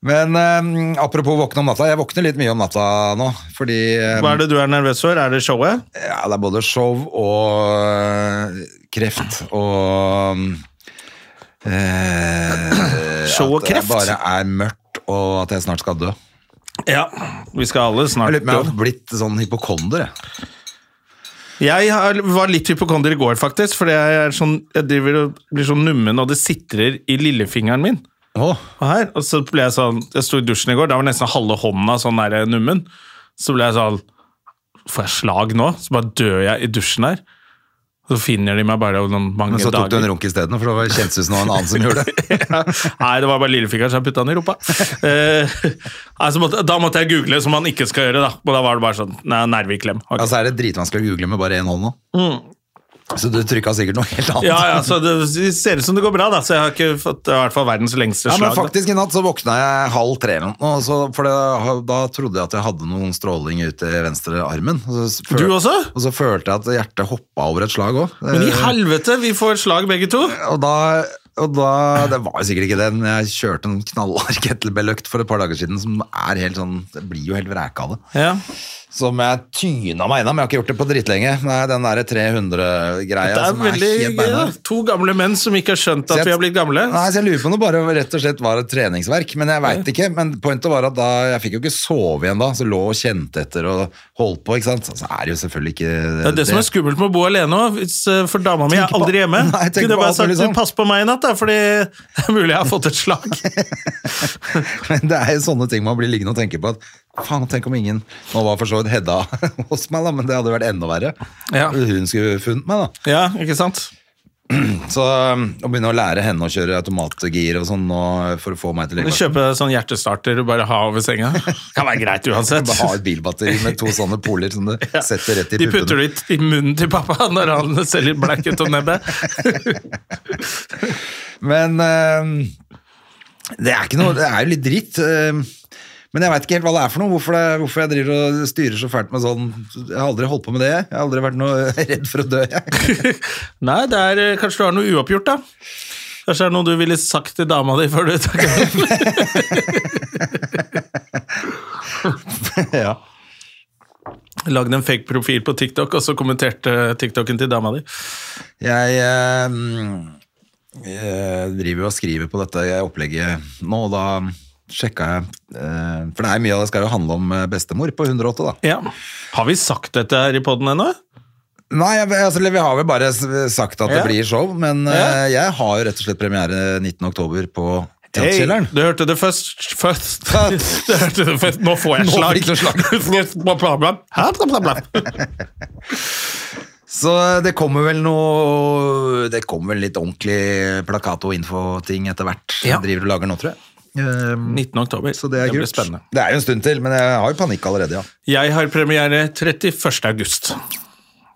Men eh, apropos våkne om natta, jeg våkner litt mye om natta nå, fordi eh,
Hva er det du er nervøs for? Er det showet?
ja, det er både show og eh, kreft og ehm, eh,
Show og
At det
kreft?
bare er mørkt, og at jeg snart skal dø.
Ja. Vi skal alle
Jeg
snart
lurer på om jeg har blitt sånn hypokonder. jeg.
Jeg har, var litt hypokonder i går, faktisk. Fordi jeg, er sånn, jeg driver og blir sånn nummen, og det sitrer i lillefingeren min.
Åh,
Og her, og så ble jeg sånn Jeg sto i dusjen i går, da var nesten halve hånda sånn der nummen. Så ble jeg sånn Får jeg slag nå? Så bare dør jeg i dusjen her. Og Og så finner de meg bare om mange
Men så tok du en
[LAUGHS] dager.
runk isteden, for det var- kjentes ut som det var en annen som gjorde
[LAUGHS]
det.
Nei, det var bare lillefingeren som jeg putta den i rumpa. Eh, nei, så måtte, da måtte jeg google, som man ikke skal gjøre. da. Og da var det bare sånn nei, nerveklem. Ok.
Altså er det dritvanskelig å google med bare én hånd nå. Så du trykka sikkert noe helt annet.
Mm. Ja, ja, så det, det ser ut som det går bra, da. Så jeg har ikke fått det er i hvert fall verdens lengste
Ja, men
slag. da.
faktisk I natt så våkna jeg halv tre, eller noe, og så- for det, da trodde jeg at jeg hadde noen stråling ute i venstre armen. Og så føl-
Du også?
Og så følte jeg at hjertet hoppa over et slag òg.
Men i helvete, vi får slag begge to!
Og da, og da Det var jo sikkert ikke den. Jeg kjørte en knallhard kettlebelløkt for et par dager siden som er helt sånn Det blir jo helt vreka av det.
Ja.
Som jeg tyna meg innom. Jeg har ikke gjort det på dritlenge. Nei, Den derre 300-greia
Det er
som er
veldig
helt
gøy, da.
beinhard.
To gamle menn som ikke har skjønt
Så
at
jeg-
vi har blitt gamle.
Nei, så jeg lurer på om det bare rett og slett var et treningsverk, men jeg veit ikke. Men pointet var at da, jeg fikk jo ikke sove igjen da, så lå og kjente etter og holdt på, ikke sant. Så er det jo selvfølgelig ikke
Det er det som er skummelt med å bo alene òg, hvis, eh, for dama mi er
Tenk på-
aldri hjemme.
[LAUGHS] Nei, tenk
Kunne jeg
på
bare
alt mulig
sagt
sånn.
'pass på meg i natt', da, fordi [LAUGHS] det er mulig jeg har fått et slag.
[LAUGHS] Men det er jo sånne ting man blir liggende og tenke på. at Faen, tenk om ingen Nå var for så vidt Hedda [LAUGHS] hos meg, da, men det hadde vært enda verre.
Ja.
Hun skulle funnet meg, da.
Ja, ikke sant?
Så um, å begynne å lære henne å kjøre automatgir og sånn nå, for å få meg til å
Kjøpe deg sånn hjertestarter du bare har over senga. [LAUGHS] Kan være greit uansett. [LAUGHS]
Bare ha et bilbatteri med to sånne poler som du setter rett i
De putter
puppene.
det i- i munnen til pappa [LAUGHS] når han ser litt blekk ut om nebbet.
Men eh, det er ikke noe, det er jo litt dritt. eh, men jeg veit ikke helt hva det er for noe. Hvorfor, det, hvorfor jeg driver og styrer så fælt med sånn. Jeg har aldri holdt på med det. Jeg har aldri vært noe [LAUGHS] redd for å dø. Jeg.
[LAUGHS] Nei, det er eh, kanskje du har noe uoppgjort, da. Kanskje det er noe du ville sagt til dama di før du takker nei?
[LAUGHS]
[LAUGHS]
ja.
Lagd en fake profil på TikTok, og så kommenterte TikToken til dama di.
Jeg eh, mm, jeg driver jo og skriver på dette opplegget nå, og da sjekka jeg eh, For det er mye av det skal jo handle om eh, bestemor på 108, da.
Ja. Har vi sagt dette her i poden ennå?
Nei, jeg, altså, vi har vel bare s- sagt at det
Ja.
blir show, men
Ja.
eh, jeg har jo rett og slett premiere 19. oktober på Teaterkjelleren.
du hørte det først. først.
Først.
[LAUGHS] Du hørte det først. Nå får jeg
Nå
slag.
fikk du
[LAUGHS]
slag.
Bla, bla, bla. Hæ? Bla,
[LAUGHS]
bla, bla.
Så det kommer vel noe Det kommer vel litt ordentlig plakat og infoting etter hvert.
Ja.
Jeg driver og lager nå, tror jeg. Ehm,
19. oktober.
så det er
blir
kult.
spennende.
Det er jo en stund til, men jeg har jo panikk allerede, ja.
Jeg har premiere 31. august.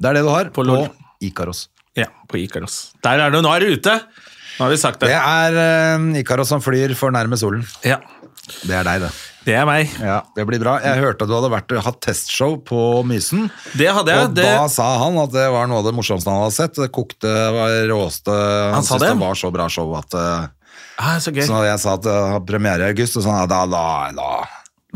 Det er det du har på,
LOL.
Ikaros.
Ja, på Ikaros. Der er det. Nå er det ute! Nå har vi sagt
Det
det.
er ehm, Ikaros som flyr for nærme solen.
Ja.
Det er deg, det.
Det er meg.
Ja, Det blir bra. Jeg hørte at du hadde vært og hatt testshow på Mysen.
Det hadde jeg.
og
Det,
da sa han at det var noe av det morsomste han hadde sett. Det kokte, var råeste Han,
sa
syntes
det?
det var så bra show at eh,
ah, så gøy.
Så jeg sa at jeg har premiere i august, og sånn, ja, da, da, da,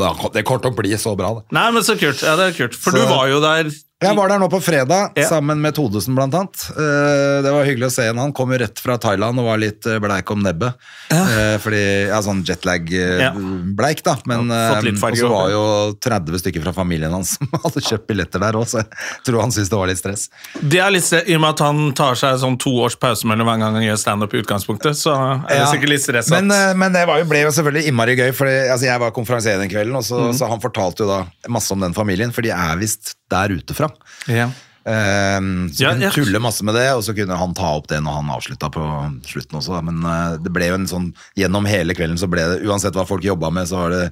da Det kommer til å bli så bra, det.
Nei, men så kult. Ja, det er kult. For
Så-
du var jo der.
Jeg var der nå på fredag,
Ja.
sammen med Todesen blant annet. Eh, Det var hyggelig å se igjen. Han kom jo rett fra Thailand og var litt eh, bleik om nebbet. Eh, Fordi, ja, sånn
Ja.
jetlag-bleik da, men
Ja, fått litt
eh,
farge
og så
også.
var jo 30 stykker fra familien hans [LAUGHS] som hadde kjøpt billetter der også, så jeg tror han syntes det var litt stress.
Det er litt, stre- I og med at han tar seg sånn to års pause mellom hver gang han gjør standup, i utgangspunktet, så er det
Ja.
sikkert litt stressa.
Men, eh, men det var jo, ble jo selvfølgelig innmari gøy, for altså, jeg var konferansier den kvelden, og så,
Mhm.
så han fortalte jo da masse om den familien, for de er visst der ute fra.
Ja.
Ehm, så
Ja,
hun
ja.
tuller masse med det, og så kunne han ta opp det når han avslutta på slutten også. da. Men eh, det ble jo en sånn Gjennom hele kvelden så ble det Uansett hva folk jobba med, så var det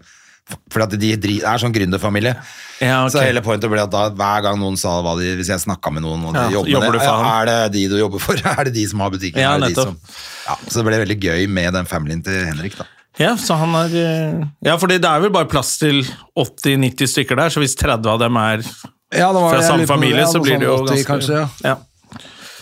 fordi at de dri- er sånn gründerfamilie.
Ja, Ah, ok.
Så hele pointet ble at da, hver gang noen sa hva de Hvis jeg snakka med noen og de
Ja,
jobber,
jobber
med
du
det,
for han?
er det de du jobber for? [LAUGHS] Er det de som har butikken?
Ja,
er det de
nettopp.
som, ja, så det ble veldig gøy med den familien til Henrik, da.
Ja, så han er eh, Ja, fordi det er vel bare plass til 80-90 stykker der, så hvis 30 av dem er
Ja, sånn det
fra samme familie, så blir det jo ganske ja.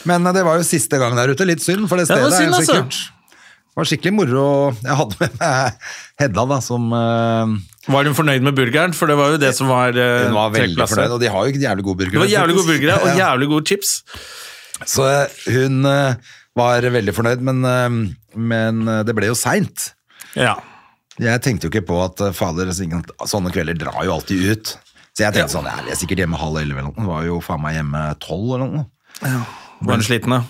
Men eh, det var jo siste gang der ute. Litt synd, for det
Ja, det
stedet
var
er
synd,
jo så
altså.
kult. Det var skikkelig moro. Jeg hadde med meg Hedda, da, som eh,
Var hun fornøyd med burgeren? For det var jo det som var, eh,
hun var veldig
trekkplasset.
fornøyd, og de har jo ikke jævlig gode burgere.
Det var jævlig gode
faktisk.
burgere og
Ja.
jævlig gode chips.
Så eh, hun eh, var veldig fornøyd, men, eh, men eh, det ble jo seint.
Ja.
Jeg tenkte jo ikke på at eh, fader, sånne kvelder drar jo alltid ut. Så jeg tenkte sånn, jeg er sikkert hjemme halv elleve eller noe. Hun Var jo faen meg hjemme tolv eller noe.
Var hun sliten, da?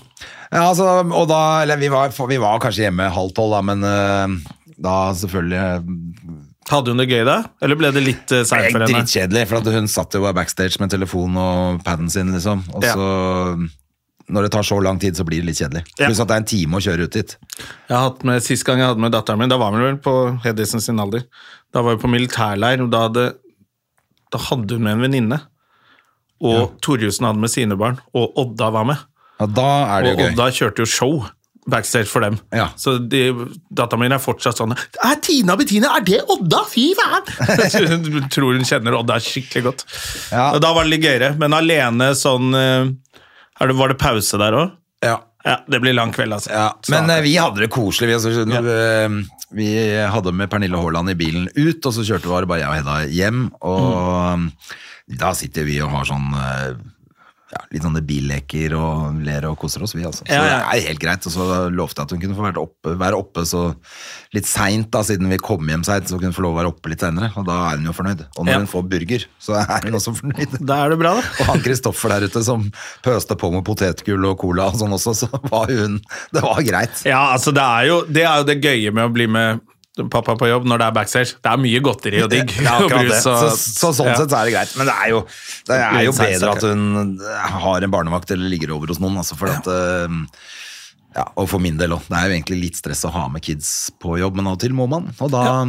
Ja, altså, og da, eller vi var, vi var kanskje hjemme halv tolv da, men eh, da selvfølgelig eh,
Hadde hun det gøy da? Eller ble det litt uh, seint
Det
for
er
henne?
dritkjedelig, for at hun satt jo bare backstage med telefon og padden sin, liksom. Og
Ja.
så når det tar så lang tid, så blir det litt kjedelig.
Ja.
Pluss at det er en time å kjøre ut dit.
Jeg har hatt med, Sist gang jeg hadde med datteren min, da var hun vel på Hedisen sin alder. Da var vi på militærleir, og da hadde, da hadde hun med en venninne. Og Torjussen hadde med sine barn, og Odda var med.
Ja, da er det
Og
jo gøy.
Odda kjørte jo show backstage for dem.
Ja.
Så de, datteren min er fortsatt sånn Er Tina Bettina, er det Odda? Fy
[LAUGHS]
faen! Så hun tror hun kjenner Odda skikkelig godt.
Ja.
Og da var det litt gøyere. Men alene sånn eh, er det, Var det pause der òg?
Ja.
Ja, det blir lang kveld, altså.
Ja,
Så-
men eh, vi hadde det koselig. Vi, altså, eh, vi hadde med Pernille Haaland i bilen ut, og så kjørte var det bare jeg og Hedda hjem. Og
Mm.
eh, da sitter vi og har sånn eh, ja, litt sånne billeker og ler og koser oss, vi altså. Så
Ja, ja.
det er helt greit. Og så lovte jeg at hun kunne få være oppe, være oppe så litt seint, da, siden vi kom hjem seint, så kunne hun få lov å være oppe litt seinere. Og da er hun jo fornøyd. Og når
Ja.
hun får burger, så er hun også fornøyd.
Da er det bra, da.
Og han Kristoffer der ute som pøste på med potetgull og cola og sånn også, så var hun Det var greit.
Ja, altså det er, jo, det er jo det gøye med å bli med pappa på jobb når det er backstage. Det er mye godteri og digg.
[LAUGHS] Ja,
og
akkurat det.
brus
Så,
og-
så sånn
ja.
sett så er det greit. Men det er jo, det er jo
Litt seigt,
bedre at hun eh, har en barnevakt eller ligger over hos noen, altså, for at eh, ja, og for min del òg. Det er jo egentlig litt stress å ha med kids på jobb, men av og til må man. Og da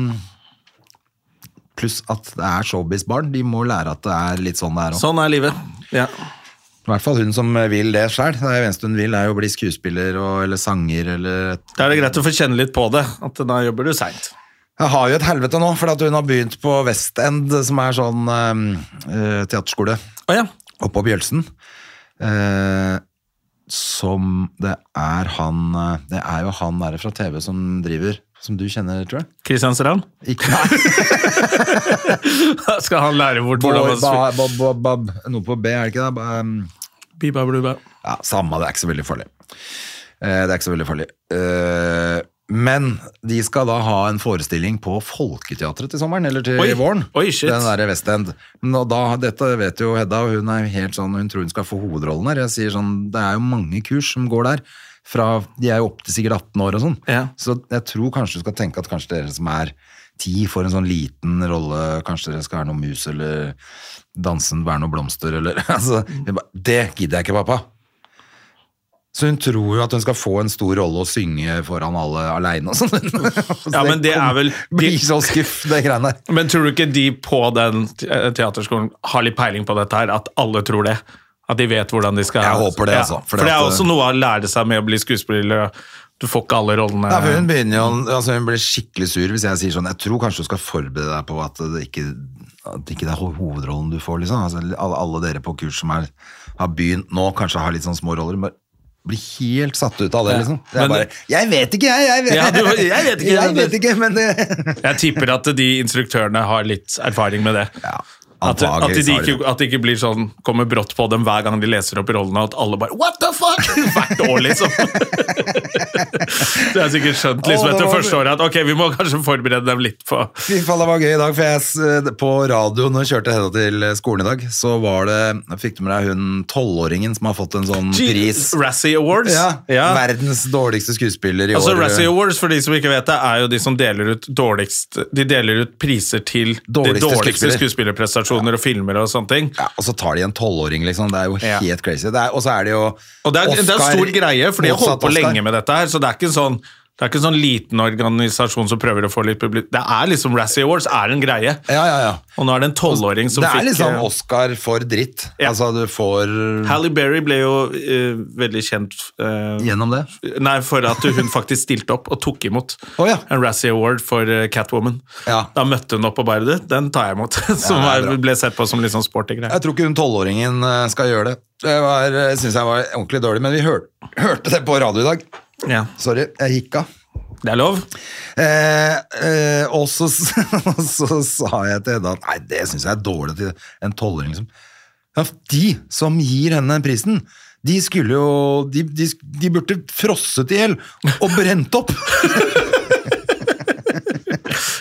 Pluss at det er showbiz-barn. De må lære at det er litt sånn det er òg.
Sånn er livet. Ja.
I hvert fall hun som vil det sjøl. Det eneste hun vil, er jo å bli skuespiller og, eller sanger eller et
Da er det greit å få kjenne litt på det. At da jobber du seint.
Jeg har jo et helvete nå, for at hun har begynt på West End, som er sånn eh, eh, teaterskole
Å ja.
oppe på Bjølsen. Eh, som det er han eh, Det er jo han der fra TV som driver, som du kjenner, tror jeg.
Kristiansand?
Ikke nei,
Da [LAUGHS] skal han lære bort
Bob,
hvordan man spiller.
Bob, Bob, Bob, Noe på B, er det ikke det? Ba- um,
Biba, bluba.
Ja, samme, det er ikke så veldig farlig. Eh, Det er ikke så veldig farlig. Eh, Men de skal da ha en forestilling på Folketeatret til sommeren, eller til
Oi.
våren.
Oi, shit.
Den derre West End. Men Og da, dette vet jo Hedda, og hun er helt sånn, hun tror hun skal få hovedrollen der. Jeg sier sånn, det er jo mange kurs som går der. Fra, de er jo opp til sikkert 18 år og sånn.
Ja.
Så jeg tror kanskje du skal tenke at kanskje dere som er ti får en sånn liten rolle, kanskje dere skal være noe mus eller dansen, være noe blomster eller [LAUGHS] altså,
Mm.
jeg ba, Det gidder jeg ikke, pappa. Så hun tror jo at hun skal få en stor rolle og synge foran alle aleine og sånn. [LAUGHS] Så
Ja, men det er vel-
[LAUGHS] Blir så skuff, det greiene der.
Men tror du ikke de på den te- teaterskolen har litt peiling på dette her? At alle tror det? At de vet hvordan de skal
Jeg håper det,
Ja.
altså,
For
fordi
det er
at-
også noe å lære seg med å bli skuespiller. og Du får ikke alle rollene.
Ja, for hun begynner jo, altså hun blir skikkelig sur hvis jeg sier sånn, jeg tror kanskje du skal forberede deg på at det ikke, at ikke det er ho- hovedrollen du får, liksom. Altså, alle, alle dere på kurs som er, har begynt nå, kanskje har litt sånn små roller, men blir helt satt ut av det,
Ja.
liksom. Det er
Men-
bare, jeg vet ikke, jeg, jeg, vet-
Ja, du- jeg vet ikke.
[LAUGHS] jeg vet ikke, men det...
Jeg tipper at de instruktørene har litt erfaring med det.
Ja,
At, at,
antageligvis
de
har de
ikke,
det.
at det ikke blir sånn, kommer brått på dem hver gang de leser opp rollene, og at alle bare What the fuck?! [LAUGHS] Hvert år, liksom. Så jeg har sikkert skjønt liksom,
Å, det
etter
var-
første året at ok, vi må kanskje forberede dem litt på
Fy faen, det var gøy i dag, for jeg, s- eh, på radioen når jeg kjørte Hedda til eh, skolen i dag, så var det, fikk du med deg hun 12-åringen som har fått en sånn pris.
Razzie Awards.
Ja,
Ja.
verdens dårligste skuespiller i
Altså,
år. eh,
Razzie Awards, for de som ikke vet det, er jo de som deler ut dårligst De deler ut priser til
Dårligste
de dårligste
skuespiller.
skuespillerprestasjoner og filmer og sånne ting.
Ja, og så tar de en tolvåring, liksom. Det er jo
Ja.
helt crazy. Det er, og så er det jo
Og det er, det er en stor greie, for de har holdt på lenge med dette her, så det er ikke en sånn det er ikke en sånn liten organisasjon som prøver å få litt publikum. Det er liksom Razzie Awards er en greie.
Ja, ja, ja.
Og nå er det en tolvåring som
det er
fikk
liksom
eh,
Oscar for dritt.
Ja.
Altså, du får
Halle Berry ble jo eh, veldig kjent eh,
gjennom det.
Nei, for at hun faktisk stilte opp og tok imot
Å, ja.
en Razzie Award for eh, Catwoman.
Ja.
Da møtte hun opp og bare du, den tar jeg imot. [LAUGHS] Som
Ja, det
er,
er bra.
ble sett på som litt sånn sporty greie.
Jeg tror ikke hun tolvåringen eh, skal gjøre det. Det var- Jeg syns jeg var ordentlig dårlig, men vi hør, hørte det på radio i dag.
Ja.
Sorry, jeg hikka.
Det er lov.
Eh, eh, og, så, [LAUGHS] og så sa jeg til Hedda Nei, det syns jeg er dårlig til en tolvåring. Liksom. Ja, de som gir henne den prisen, de skulle jo De, de, de burde frosset i hjel og brent opp! [LAUGHS]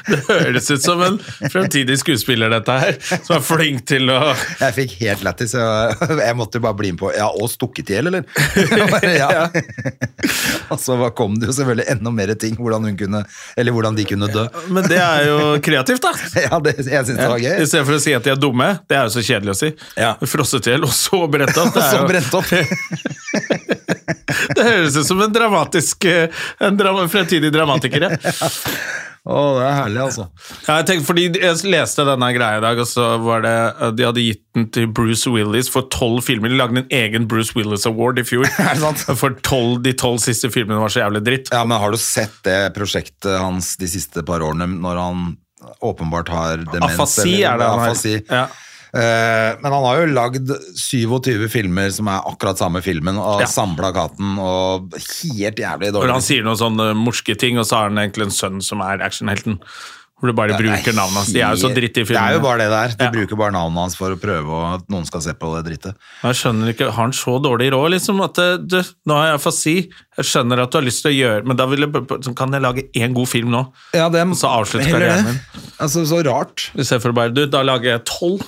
Det høres ut som en fremtidig skuespiller, dette her. Som er flink til å
Jeg fikk helt lættis. Jeg, [LAUGHS] jeg måtte bare bli med på Ja, og stukket i hjel, eller? [LAUGHS] Jeg Bare, ja. [LAUGHS] Og så var- kom det jo selvfølgelig enda mer ting, hvordan hun kunne Eller hvordan de kunne dø.
Men det er jo kreativt, da.
[LAUGHS] Ja, det, jeg syns det var
I
gøy.
stedet for å si at de er dumme. Det er jo så kjedelig å si.
Ja. [LAUGHS]
Frosset i hjel, og så brent opp. [LAUGHS]
Og
Det er
så
jo,
brent opp.
Det høres ut som en dramatisk eh, En dra- fremtidig dramatiker.
[LAUGHS]
ja.
Å, det er herlig, altså.
Ja, jeg tenkte, fordi jeg leste denne greia i dag, og så var det eh, De hadde gitt den til Bruce Willis for tolv filmer. De lagde en egen Bruce Willis Award i fjor.
[LAUGHS] Er det sant?
For 12, de tolv siste filmene var så jævlig dritt.
Ja, men har du sett det prosjektet hans de siste par årene, når han åpenbart har demens?
Afasi er det han har.
Afasi.
Ja.
Eh, men han har jo lagd 27 filmer som er akkurat samme filmen, og
Ja.
samme plakaten, og helt jævlig
Hvor han
dårlig.
sier noen sånne morske ting, og så har han egentlig en sønn som er actionhelten. Hvor du bare
Det er
bruker navnet hans. De er jo så
helt-
dritt i
Det er jo
filmene.
bare det der. De
Ja.
bruker bare navnet hans for å prøve å- at noen skal se på det drittet.
Jeg skjønner ikke, Har han så dårlig råd, liksom? At eh, du, nå har jeg afasi. Jeg skjønner at du har lyst til å gjøre Men da vil jeg, bare- så kan jeg lage én god film nå?
Ja, det,
Og så avslutte
Heller
karrieren
det.
min.
Altså, så rart.
I stedet for å bare Du, da lager jeg tolv.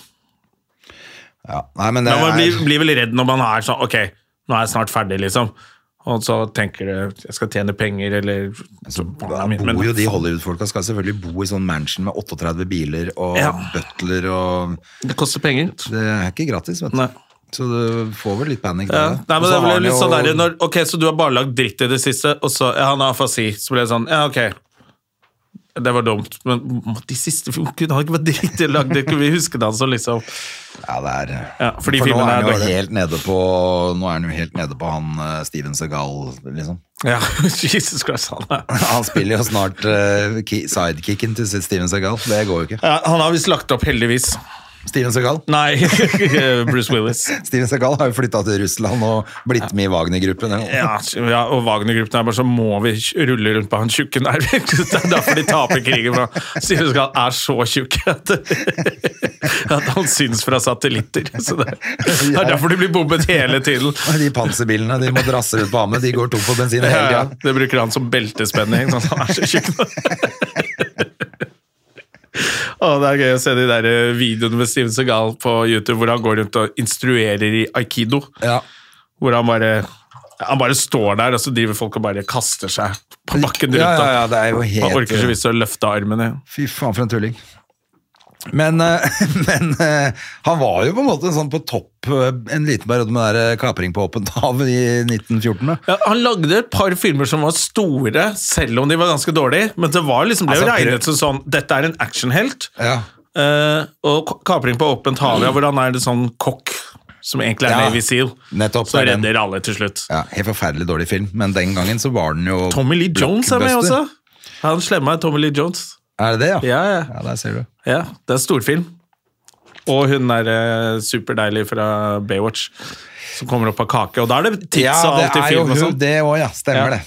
Ja. Nei, men det
Men man
er...
blir, blir vel redd når man er sånn Ok, nå er jeg snart ferdig, liksom. Og så tenker du jeg skal tjene penger, eller
Så da
barna mine, men-
Altså, bor jo de Hollywood-folka skal selvfølgelig bo i sånn mansion med 38 biler og
Ja.
butler og
Det koster penger.
Det er ikke gratis, vet du.
Nei.
Så du får vel litt panikk.
Ja.
da.
Nei,
Og
men
så
det
har
ble
han
litt
jo-
sånn der, når, Ok, så du har bare lagd dritt i det siste, og så Ja, han har afasi. Så ble det sånn Ja, ok. Det var dumt, men de siste filmene kunne han ikke bare dritt i lagd? det? Kunne vi husket han som liksom
Ja, det er...
Ja, fordi
For nå
filmene
er
er
han jo
dårlige.
helt nede på Nå er han jo helt nede på han eh, Steven Segal, liksom. [LAUGHS]
Ja, [LAUGHS] Jesus Christ, han er
Han spiller jo snart eh, ki- sidekicken til Steven Segal. Det går jo ikke.
ja, Han har visst lagt opp, heldigvis.
Steven Segal
Nei, [LAUGHS] Bruce Willis.
Steven Segal har jo flytta til Russland og blitt med i Wagner-gruppen. eller noe.
Ja, ja og Wagner-gruppen er bare så må vi rulle rundt på han tjukke nerven. [LAUGHS] Det er derfor de taper krigen. For Steven Seagal er så tjukk [LAUGHS] at, at han syns fra satellitter. [LAUGHS] Så det det er derfor de blir bombet hele tiden.
Og De panserbilene de må drasse ut på Hamet, de går tom for bensin hele
Ja, ja.
tida.
Det bruker han som beltespenning. Sånn, at han er så tjukk [LAUGHS] nå. Å, det er gøy å se de der eh, videoene med Steven Seagal på YouTube hvor han går rundt og instruerer i aikido.
Ja.
Hvor han bare han bare står der, og så driver folk og bare kaster seg på bakken rundt.
Ja, ja,
ham.
ja, det er jo helt-
Han orker så vidt å løfte armen. ja.
Fy faen, for en tulling. Men, eh, [LAUGHS] men eh, han var jo på en måte sånn på topp eh, en liten periode med det der, eh, kapring på åpent hav i 1914. da.
Ja, han lagde et par filmer som var store, selv om de var ganske dårlige. Men det var liksom, ble jo
Altså,
regnet som sånn Dette er en actionhelt.
Ja.
Eh, og k- kapring på åpent hav, ja, hvor han er en sånn kokk som egentlig er
Ja,
Navy Seal.
nettopp,
så
det er den.
redder alle til slutt.
ja, Helt forferdelig dårlig film, men den gangen så var den jo
Tommy Lee Jones er med også.
blockbuster.
Han slemme er Tommy Lee Jones.
Er det det, ja?
Ja, ja.
Ja, der ser du.
Ja, det er storfilm. Og hun er eh, superdeilig fra Baywatch, som kommer opp av kake. Og da er det tits
Ja,
og
det
alt i
er jo
film og
hun,
sånn.
det òg, ja. Stemmer
Ja.
det.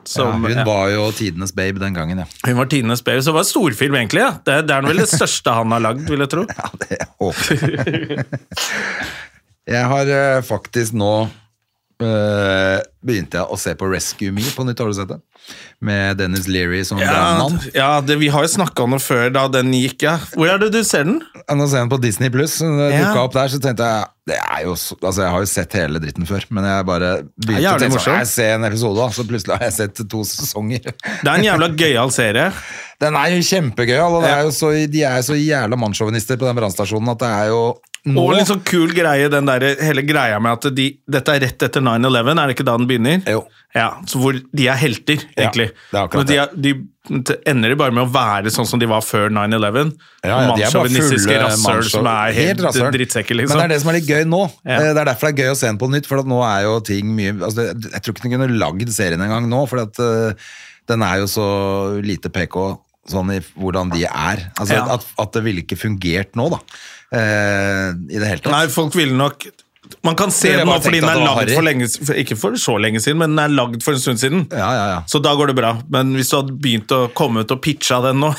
Ja,
som-
hun
ja.
var jo tidenes babe den gangen, ja.
Hun var tidenes baby, så det var storfilm egentlig. Ja. Det, det er
[LAUGHS]
vel det største han har lagd, vil jeg tro.
Ja, det håper jeg. Jeg har eh, faktisk nå eh, begynte jeg å se på Rescue Me på nytt, har du sett det? Med Dennis Leary som
Ja,
brannmann.
d- ja det, vi har jo snakka om det før, da den gikk, ja. Hvor er det du ser den?
Ja, Nå ser jeg den på Disney Pluss. Det
Ja.
dukka opp der, så tenkte jeg det er jo, så- Altså, jeg har jo sett hele dritten før, men jeg bare begynte
Ja,
å
jævlig
tenke
morsom.
sånn Jeg ser en episode, da, så plutselig har jeg sett to sesonger. [LAUGHS]
Det er en jævla gøyal serie.
Den er jo kjempegøyal, og det er jo så, de er jo så jævla mannssjåvinister på den brannstasjonen at det er jo nå
Og litt sånn kul greie, den der, hele greia med at de, dette er rett etter 9-11, er det ikke da den begynner?
Jo.
Ja, så hvor de er helter, egentlig.
det er
Men
akkurat
de, er, de t- ender de bare med å være sånn som de var før 9-11.
Ja, ja, de er bare
Mannssjåvinistiske
fulle
rasshøl
mannssjå-
som er helt,
rasshøl.
drittsekker, liksom.
Men det er det som er litt gøy nå.
Ja.
Eh, Det er derfor det er gøy å se den på nytt, for at nå er jo ting mye altså, det- Jeg tror ikke den kunne lagd serien engang nå, for at, eh, den er jo så lite PK sånn i hvordan de er. Altså,
Ja.
at, at det ville ikke fungert nå, da. Eh, I det hele tatt.
Nei, folk ville nok Man kan se
Det er
den nå
bare
fordi
tenkt
den
at
er
det var
lagd
Harry.
for lenge s- for- Ikke for så lenge siden, men den er lagd for en stund siden.
Ja, ja, ja.
Så da går det bra. Men hvis du hadde begynt å komme ut og pitcha den nå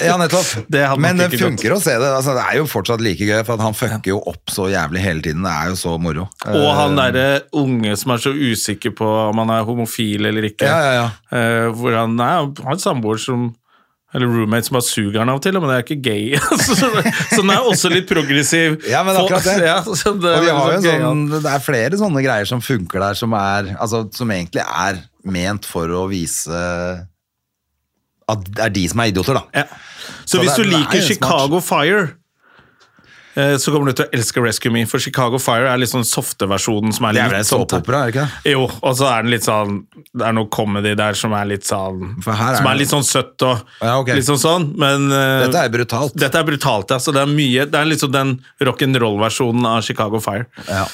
Ja, nettopp.
Det hadde
Men
nok
det
ikke gått.
funker å se det. Altså, det er jo fortsatt like gøy, for at han fucker jo opp så jævlig hele tiden. Det er jo så moro. Eh,
Og han derre unge som er så usikker på om han er homofil eller ikke.
Ja, ja, ja.
Eh, hvor han nei, han har en samboer som eller roommate som bare suger han av og til, men det er ikke gay. [LAUGHS] så, så den er også litt progressiv.
Ja, men akkurat
[LAUGHS]
det.
Ja, så det er
Og de har
veldig
jo en
gøyal.
sånn, det er flere sånne greier som funker der, som, er, altså, som egentlig er ment for å vise at det er de som er idioter, da.
Ja. Så,
Så
hvis
det-
du
det er
liker
jo smart.
Chicago Fire, eh, så kommer du til å elske Rescue Me, for Chicago Fire er litt sånn softe versjonen som er
Det er
litt
vel en
sånn-
såpeopera, er det ikke det?
Jo, og så er den litt sånn Det er noe comedy der som er litt sånn
For her er
Som
det-
er litt sånn søtt og
Ja, ok.
litt sånn sånn, men eh,
Dette er brutalt.
Dette er brutalt, ja. Så det er mye Det er liksom den rock'n'roll-versjonen av Chicago Fire.
Ja.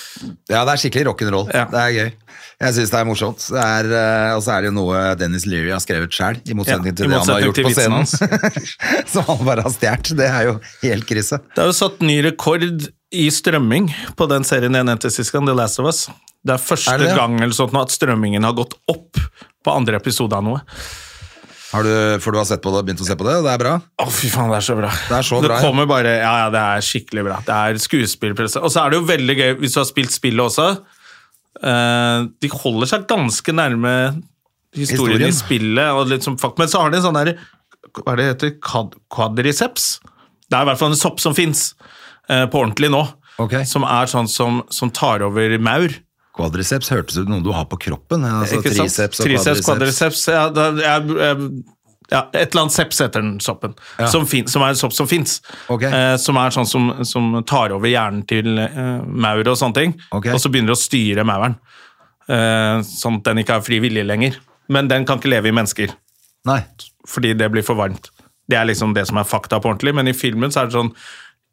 ja, det er skikkelig rock'n'roll.
Ja.
Det er gøy. Jeg syns det er morsomt. Det er, eh, og så er det jo noe Dennis Leary har skrevet sjøl, i motsetning
Ja, i
til det han
motsetning
har gjort
til
på
vitsen
scenen. [LAUGHS] Som han bare har stjålet. Det er jo helt krise.
Det er jo satt ny rekord i strømming på den serien jeg nevnte sist gang, The Last of Us. Det er første
Er det det?
gang eller sånt nå at strømmingen har gått opp på andre episode av noe.
Har du, for du har sett på det, begynt å se på det, og det er bra?
Å, fy faen, det er så bra.
Det er så bra, ja.
kommer bare Ja, ja, det er skikkelig bra. Det er skuespillpresse. Og så er det jo veldig gøy hvis du har spilt spillet også. Eh, de holder seg ganske nærme historien,
Historien.
i spillet, og litt som fakt. men så har de en sånn der Hva er det det heter? Kad quadriceps? Det er i hvert fall en sopp som fins på ordentlig nå,
Ok.
som er sånn som, som tar over maur.
Quadriceps hørtes ut som noe du har på kroppen. Altså,
Eh, Ikke sant?
triceps og
Triceps,
quadriceps.
quadriceps. Ja, da, jeg, jeg, ja, et eller annet seps heter den soppen, som, fin, som er en sopp som fins.
Ok.
Eh, som er sånn som, som tar over hjernen til eh, maur og sånne ting,
Ok.
og så begynner å styre mauren. Eh, sånn at den ikke har fri vilje lenger. Men den kan ikke leve i mennesker,
Nei.
fordi det blir for varmt. Det er liksom det som er fakta på ordentlig, men i filmen så er det sånn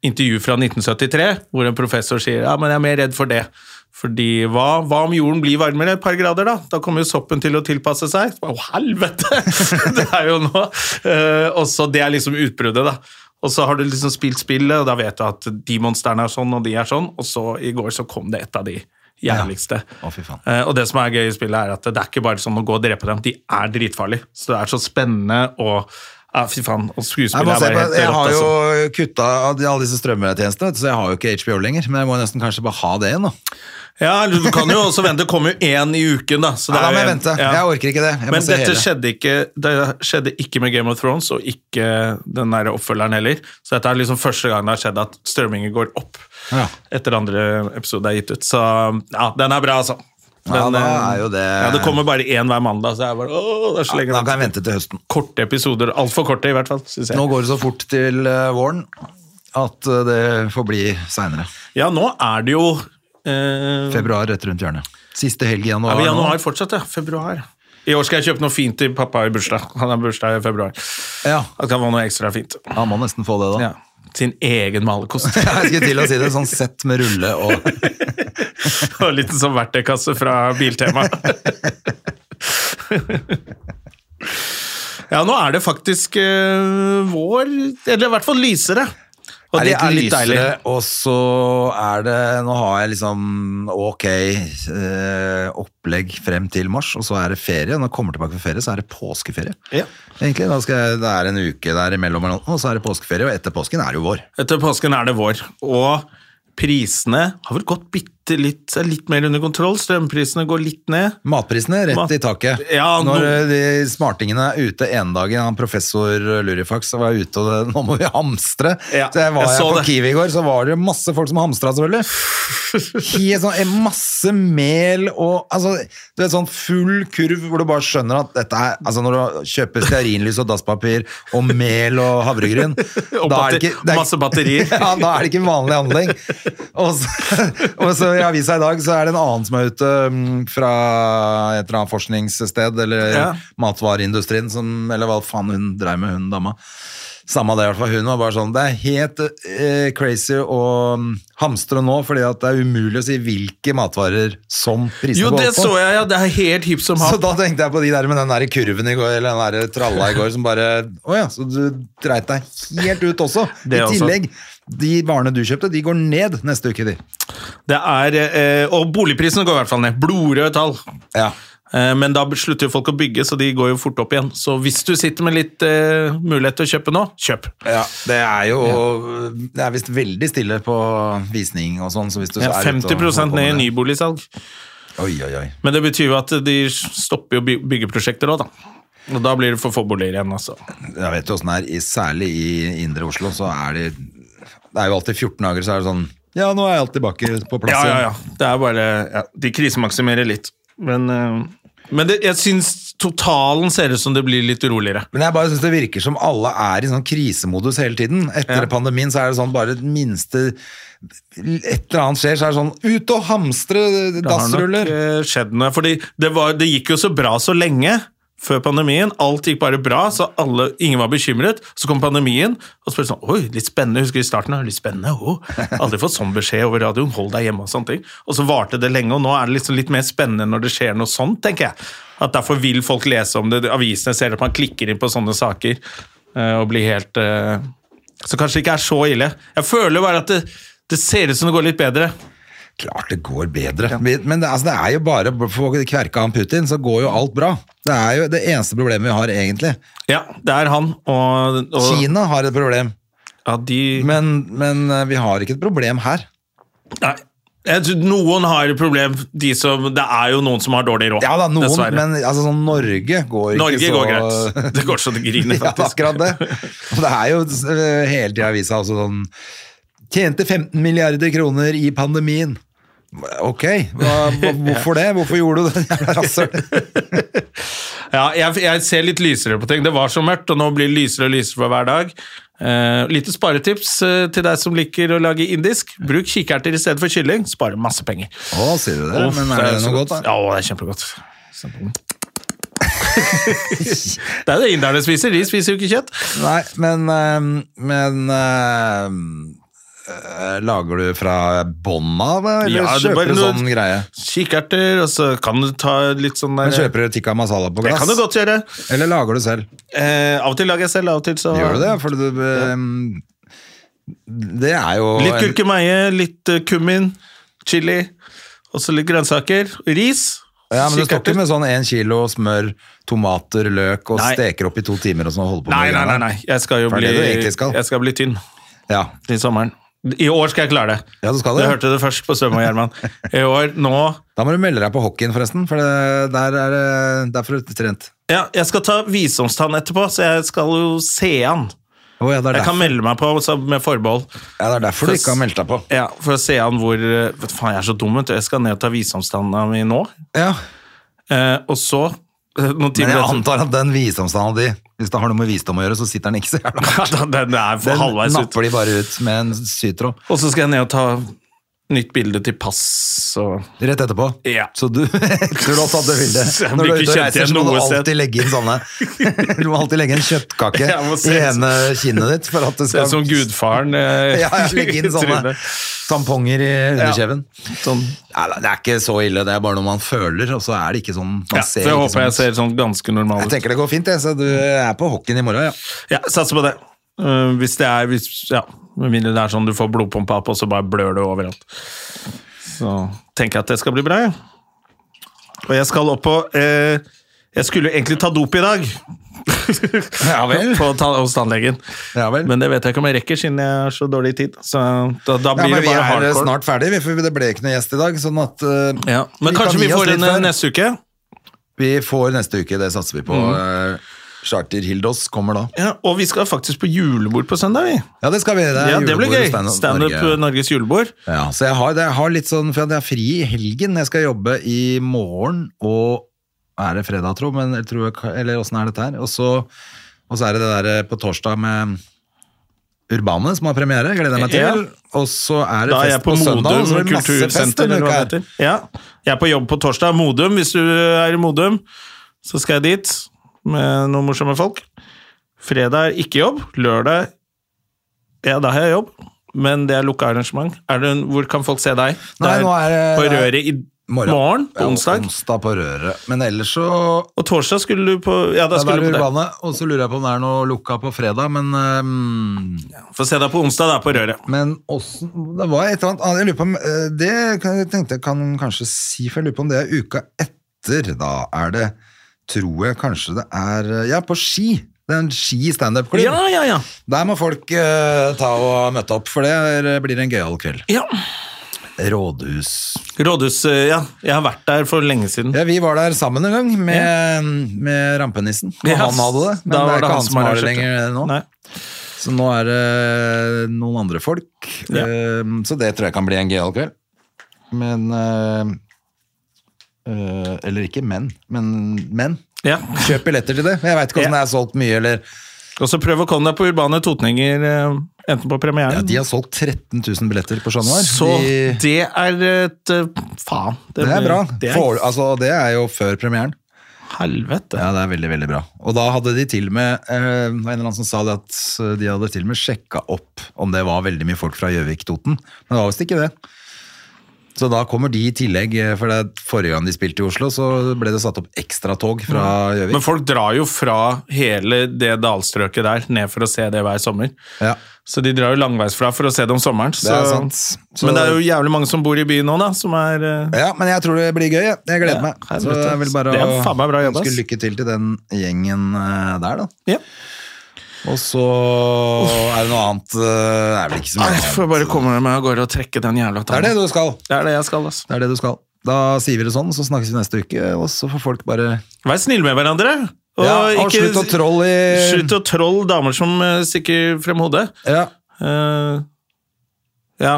intervju fra 1973, hvor en professor sier ja, men jeg er mer redd for det. Fordi hva, hva om jorden blir varmere et par grader, da? Da kommer jo soppen til å tilpasse seg. Å, helvete! [LAUGHS] det er jo nå. Eh, og så det er liksom utbruddet, da. Og så har du liksom spilt spillet, og da vet du at de monstrene er sånn, og de er sånn. Og så i går så kom det et av de jævligste.
Å, fy faen.
Eh, og det som er gøy i spillet, er at det er ikke bare sånn å gå og drepe dem. De er dritfarlige. Så det er så spennende og ja, Fy faen. Og
Jeg,
skuespillet
må
er
se
bare
på,
helt
jeg har
rått,
jo
altså.
kutta av de- alle disse strømmetjenestene, vet du, så jeg har jo ikke HBO lenger. Men jeg må nesten kanskje bare ha det igjen, da.
Ja, eller du kan jo også vente. Det kommer jo én i uken, da. Så
Ja, da må
jo
jeg
en-
vente.
ja.
Jeg orker ikke det. Jeg må
Men
se
dette
hele.
skjedde ikke, det skjedde ikke med Game of Thrones, og ikke den der oppfølgeren heller. Så dette er liksom første gang det har skjedd at strømmingen går opp
Ja.
etter andre episode er gitt ut. Så ja, den er bra, altså.
Ja,
Den,
da
eh,
er jo det-
ja, det kommer bare én hver mandag, så jeg bare åh, det er så lenge
Da
vent.
kan jeg vente til høsten.
Korte episoder. Altfor korte, i hvert fall, syns jeg.
Nå går det så fort til eh, våren at eh, det får bli seinere.
Ja, nå er det jo eh,
Februar rett rundt hjørnet. Siste helg i
Ja,
januar.
men
nå.
januar fortsatt, ja. Februar. I år skal jeg kjøpe noe fint til pappa i bursdag. Han har bursdag i februar.
Ja,
Han kan få noe ekstra fint.
Han må nesten få det, da.
Ja. Sin egen malerkost. [LAUGHS]
[LAUGHS] Jeg skulle til å si det. Sånn sett med rulle og
Og en liten sånn verktøykasse fra Biltema. [LAUGHS] ja, nå er det faktisk eh, vår, eller i hvert fall lysere. Og
Er det
det er litt deilig.
lysere, Og så er det Nå har jeg liksom ok eh, opplegg frem til mars, og så er det ferie. Når jeg kommer tilbake fra ferie, så er det påskeferie.
Ja.
Egentlig, da skal jeg, Det er en uke der imellom, og så er det påskeferie, og etter påsken er det jo vår.
Etter påsken er det vår, og prisene har vel gått bitte litt, er litt mer under kontroll. Strømprisene går litt ned.
Matprisene rett
Mat-
i taket.
Ja,
Når
nå-
eh, de smartingene er ute ene dagen, han professor Lurifax var ute og det, [LAUGHS] nå må vi hamstre.
Ja,
så jeg var
jeg
jeg
så
på
det.
Kiwi i går, så var det masse folk som hamstra, selvfølgelig.
[LAUGHS]
Helt sånn, eh, masse mel og altså, Du vet sånn full kurv hvor du bare skjønner at dette er altså Når du kjøper stearinlys og dasspapir og mel og havregryn
[LAUGHS] Og
da er
batter-
det ikke, det er,
masse batterier.
[LAUGHS] ja, da er det ikke vanlig handling. Og så, og så i avisa i dag så er det en annen som er ute mm, fra et eller annet forskningssted, eller
Ja.
matvareindustrien, som, eller hva faen hun dreier med, hun dama. Samme det, i hvert fall. Hun var bare sånn Det er helt eh, crazy å mm, hamstre nå, fordi at det er umulig å si hvilke matvarer som prisene
Jo,
går
det
opp på.
så jeg, ja. Det er helt hipp som
Så
happ.
da tenkte jeg på de der med den der kurven i går, eller den der tralla i går, som bare Å ja, så du dreit deg helt ut også.
Det
I
også.
tillegg, de varene du kjøpte, de går ned neste uke, de.
Det er, eh, og boligprisene går i hvert fall ned. Blodrøde tall.
Ja.
Eh, Men da slutter jo folk å bygge, så de går jo fort opp igjen. Så hvis du sitter med litt eh, mulighet til å kjøpe nå, kjøp.
det er jo Det er visst veldig stille på visning og sånn, så hvis du
Ja,
er ute og-
50 ned i
og-
nyboligsalg.
Oi, oi, oi.
Men det betyr jo at de stopper jo by- byggeprosjekter òg, da. Og da blir det for få boliger igjen, altså.
Jeg vet jo åssen det er, i- særlig i indre Oslo, så er det Det er jo alltid 14 dager, så er det sånn Ja, nå er alt tilbake på plass
Ja, ja,
igjen.
ja. Det er bare ja, De krisemaksimerer litt. Men eh, Men det, jeg syns totalen ser ut som det blir litt uroligere.
Men jeg bare synes det virker som alle er i sånn krisemodus hele tiden. Etter
Ja.
pandemien så er det sånn bare det minste Et eller annet skjer, så er det sånn Ut og hamstre
Det
dassruller!
har nok eh, skjedd noe. Fordi det, var, det gikk jo så bra så lenge før pandemien. Alt gikk bare bra, så alle, ingen var bekymret. Så kom pandemien, og så ble det sånn Oi, litt spennende. Husker i starten. Litt spennende. Oh. Aldri fått sånn beskjed over radioen. Hold deg hjemme og sånne ting. Og så varte det lenge, og nå er det liksom litt mer spennende når det skjer noe sånt, tenker jeg. At derfor vil folk lese om det. Avisene ser at man klikker inn på sånne saker eh, og blir helt eh, Så kanskje det ikke er så ille. Jeg føler bare at det, det ser ut som det går litt bedre.
Klart det går bedre. Men det, altså, det er jo bare for å kverke han Putin, så går jo alt bra. Det er jo det eneste problemet vi har, egentlig.
Ja, det er han. Og, og
Kina har et problem,
Ja, de
men, men eh, vi har ikke et problem her.
Nei. Jeg tror noen har et problem. De som, det er jo noen som har dårlig råd.
Ja da, noen,
dessverre.
men altså, sånn, Norge går
Norge
ikke så
går greit. [LAUGHS]
[LAUGHS]
Det går så det griner,
Ja,
faktisk.
akkurat det. Og det er jo eh, hele tida avisa også sånn Tjente 15 milliarder kroner i pandemien. Ok, hva,
[LAUGHS]
hva, hvorfor det? Hvorfor gjorde du det? [LAUGHS] Jævla rasshøl.
Ja, jeg, jeg ser litt lysere på ting. Det var så mørkt, og nå blir det lysere og lysere for hver dag. Eh, lite sparetips eh, til deg som liker å lage indisk. Bruk kikerter i stedet for kylling. Sparer masse penger.
Å, sier du det?
Uff,
Men er det
så
noe godt, da?
Ja, å, det er kjempegodt. [LAUGHS] det er jo det inderne spiser. De spiser jo ikke kjøtt.
Nei, men, eh, men eh, eh, Lager du fra bånn av, eller
Ja, det er bare
kjøper du
noe-
sånn greie?
Kikerter, og så kan du ta litt sånn der
Men kjøper du tikka masala på
Det
glass?
kan du godt gjøre.
Eller lager du selv?
Eh, av og til lager jeg selv, av og til så
Gjør du det? For du, ehm, det er jo
Litt
en-
gurkemeie, litt eh, kummin, chili, og så litt grønnsaker. Ris.
Ja, men Du står
kikerter.
ikke med sånn én kilo smør, tomater, løk og
Nei.
steker opp i to timer og sånn og holder på
Nei,
med
nei, nei,
greiene.
nei. Jeg skal jo
For
bli,
det er det du egentlig skal.
Jeg skal bli tynn
Ja.
til sommeren. I år skal jeg klare det.
Ja, du skal
Du
det.
hørte det først på Svømme og
[LAUGHS]
Gjerman. I år, nå
Da må du melde deg på hockeyen, forresten, for det, der er det der får du trent.
ja, Jeg skal ta visdomstann etterpå, så jeg skal jo se an.
Å ja, det er,
Jeg kan
derfor,
melde meg på så med forbehold.
ja, det er derfor du ikke har meldt deg på.
Ja, For å se an hvor eh, vet du, Faen, jeg er så dum, vet du. Jeg skal ned og ta visdomstanna mi nå.
Ja,
Eh, og så eh, noen
Men
timer
jeg
etter-
antar at den visdomstanda di, hvis det har noe med visdom å gjøre, så sitter den
[LAUGHS]
ikke så jævla
[LAUGHS] Ja, da- den er for
Den
halvveis ut.
napper de bare ut med en sytråd
Og så skal jeg ned og ta nytt bilde til pass. Og...
rett etterpå.
Ja.
Så du [LAUGHS] tror også at du vil det.
[LAUGHS] Jeg blir
Når du er
ikke
ute og
kjent
reiser,
igjen
så må du
noe sted.
alltid legge inn sånne [LAUGHS] Du må alltid legge en kjøttkake
[LAUGHS] Jeg må se-
i ene kinnet ditt for at det
Det
skal
er som gudfaren. eh,
[LAUGHS] Ja, jeg legger inn
[LAUGHS] i
sånne
trynet.
tamponger i underkjeven.
Sånn.
Nei, da, det er ikke så ille, det er bare noe man føler, og så er det ikke sånn man
Ja, så
ser
jeg
ikke
håper
sånn.
jeg ser sånn ganske normal
Jeg
ut.
tenker det går fint, jeg, så du er på hockeyen i morgen, ja.
Ja, satser på det. Eh, hvis det er hvis, Ja, med mindre det er sånn du får blodpumpa opp, og så bare blør du overalt. Så tenker jeg at det skal bli bra, jeg. Og jeg skal opp på eh, Jeg skulle jo egentlig ta dop i dag.
[LAUGHS] Ja vel.
På, ta, hos tannlegen.
Ja vel.
Men det vet jeg ikke om jeg rekker, siden jeg har så dårlig tid. Så da, da
Ja,
blir
men
det
vi
bare
er
hardcore.
snart ferdige, vi, for det ble ikke noen gjest i dag, sånn at eh,
Ja. Men
Vi
kanskje
kan
vi
gi oss
får eh,
litt
en
før.
neste uke?
vi får neste uke, det satser vi på.
Mm.
Eh, Charter Hildos kommer da.
Ja, og vi skal faktisk på julebord på søndag, vi.
Ja, det skal vi. Det, er
Ja, det blir gøy.
julebord i Stand Up
Standup
Norge.
Norges julebord.
Ja, så jeg har, det, jeg har litt sånn, for jeg har fri i helgen. Jeg skal jobbe i morgen, og er det fredag, tro, men jeg tror jeg, eller åssen er dette her? Og så, og så er det det der eh, på torsdag med Urbane som har premiere, gleder jeg meg til. Og så er det
Da er jeg
fest
på,
på, søndag, og
Modum
så blir det masse fest
kultursenter,
denne
eller hva
uka
det
her.
heter. Ja, jeg er på jobb på torsdag. Modum, hvis du er i Modum, så skal jeg dit med noen morsomme folk. Fredag er ikke jobb. Lørdag Ja, da har jeg jobb, men det er lukka arrangement. Er det, en- hvor kan folk se deg?
Nei, nå er det-
på Røret i morgen, på
Ja,
onsdag.
onsdag på Røret. Men ellers så
Og torsdag skulle du på Ja, da
da
skulle
er
du på
det
det.
Urbane, og så lurer jeg på om det er noe lukka på fredag, men ehm,
Få se deg på onsdag, da, på Røret.
Men åssen Det var et eller annet annet, jeg lurer på om, eh, Det kan- jeg tenkte jeg kan kanskje si, for jeg lurer på om det er uka etter. Da er det Tror jeg kanskje det er eh, Ja, på Ski. Det er en Ski standup-klubb.
Ja, ja, ja.
Der må folk eh, ta og møte opp, for det er- eh, blir en gøyal kveld.
ja.
Rådhus.
Rådhus, eh, ja. Jeg har vært der for lenge siden.
Ja, Vi var der sammen en gang med, med rampenissen. Og
Ja,
han hadde det, men
da
det
var
er ikke han som har det lenger nå.
Nei.
Så nå er det noen andre folk. Ehm,
Ja.
Eh, Så det tror jeg kan bli en gøyal kveld. Men eh, Eh, eller ikke menn, men menn.
Ja.
Kjøp billetter til det. Jeg veit ikke hvordan det er solgt mye, eller
Og så prøv å komme deg på Urbane Totninger, eh, enten på
ja,
premieren
De har solgt 13 000 billetter på Chat Noir.
Så
De-
det er et eh, Faen.
det er
blir-
bra.
Det er
For, altså, det er jo før premieren.
helvete.
Ja, det er veldig, veldig bra. Og da hadde de til og med eh, det var en eller annen som sa det at eh, de hadde til og med sjekka opp om det var veldig mye folk fra Gjøvik-Toten, men det var visst ikke det. Så da kommer de i tillegg, eh, for det forrige gang de spilte i Oslo, så ble det satt opp ekstratog fra
Men
Gjøvik.
folk drar jo fra hele det dalstrøket der ned for å se det hver sommer.
Ja.
Så de drar jo langveisfra for å se det om sommeren. Så,
er sant. Så-
men det er jo jævlig mange som bor i byen nå, da, som er eh,
ja, men jeg tror det blir gøy. Jeg, jeg gleder
Ja,
meg.
helvete.
Så jeg vil bare
Det er faen meg bra jobb,
ønske
ass.
lykke til til den gjengen eh, der, da.
Ja.
Og så er det noe annet eh, Det er vel ikke så mye
Nei,
annet.
får jeg bare komme meg av gårde og trekke den jævla
Det er det
tanna.
du skal.
Det er det jeg skal, altså.
Det er det du skal. Da sier vi det sånn, så snakkes vi neste uke, og så får folk bare
Vær snille med hverandre. Og,
ja, og
ikke
slutt å trolle i
slutt å trolle damer som eh, stikker frem hodet.
Ja,
Eh, ja,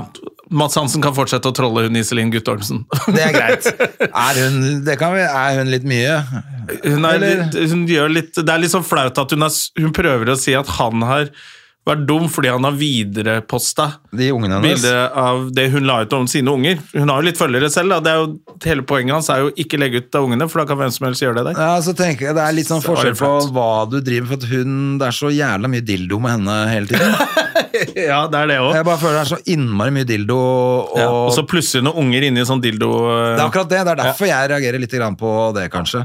Mats Hansen kan fortsette å trolle hun Iselin Guttormsen. [LAUGHS]
det er greit. Er hun, det kan vi, er hun litt mye?
Hun er
Eller-
litt, hun gjør litt, det er litt sånn flaut at hun, er, s- hun prøver å si at han har vært dum fordi han har videreposta
De ungene hennes.
bilde av det hun la ut om sine unger. Hun har jo litt følgere selv, da. Det er jo, hele poenget hans er jo ikke legge ut av ungene, for da kan hvem som helst gjøre det der.
Ja, så tenker jeg Det er litt sånn
Så var
forskjell
det
på
flaut.
hva du driver med, for at hun, det er så jævla mye dildo med henne hele tiden.
[LAUGHS] [LAUGHS] Ja, det er det også.
Jeg bare føler det er så innmari mye dildo, og,
Ja, og så plutselig noen unger inni sånn dildo...
Det er akkurat det. Det er derfor jeg reagerer litt grann på det, kanskje.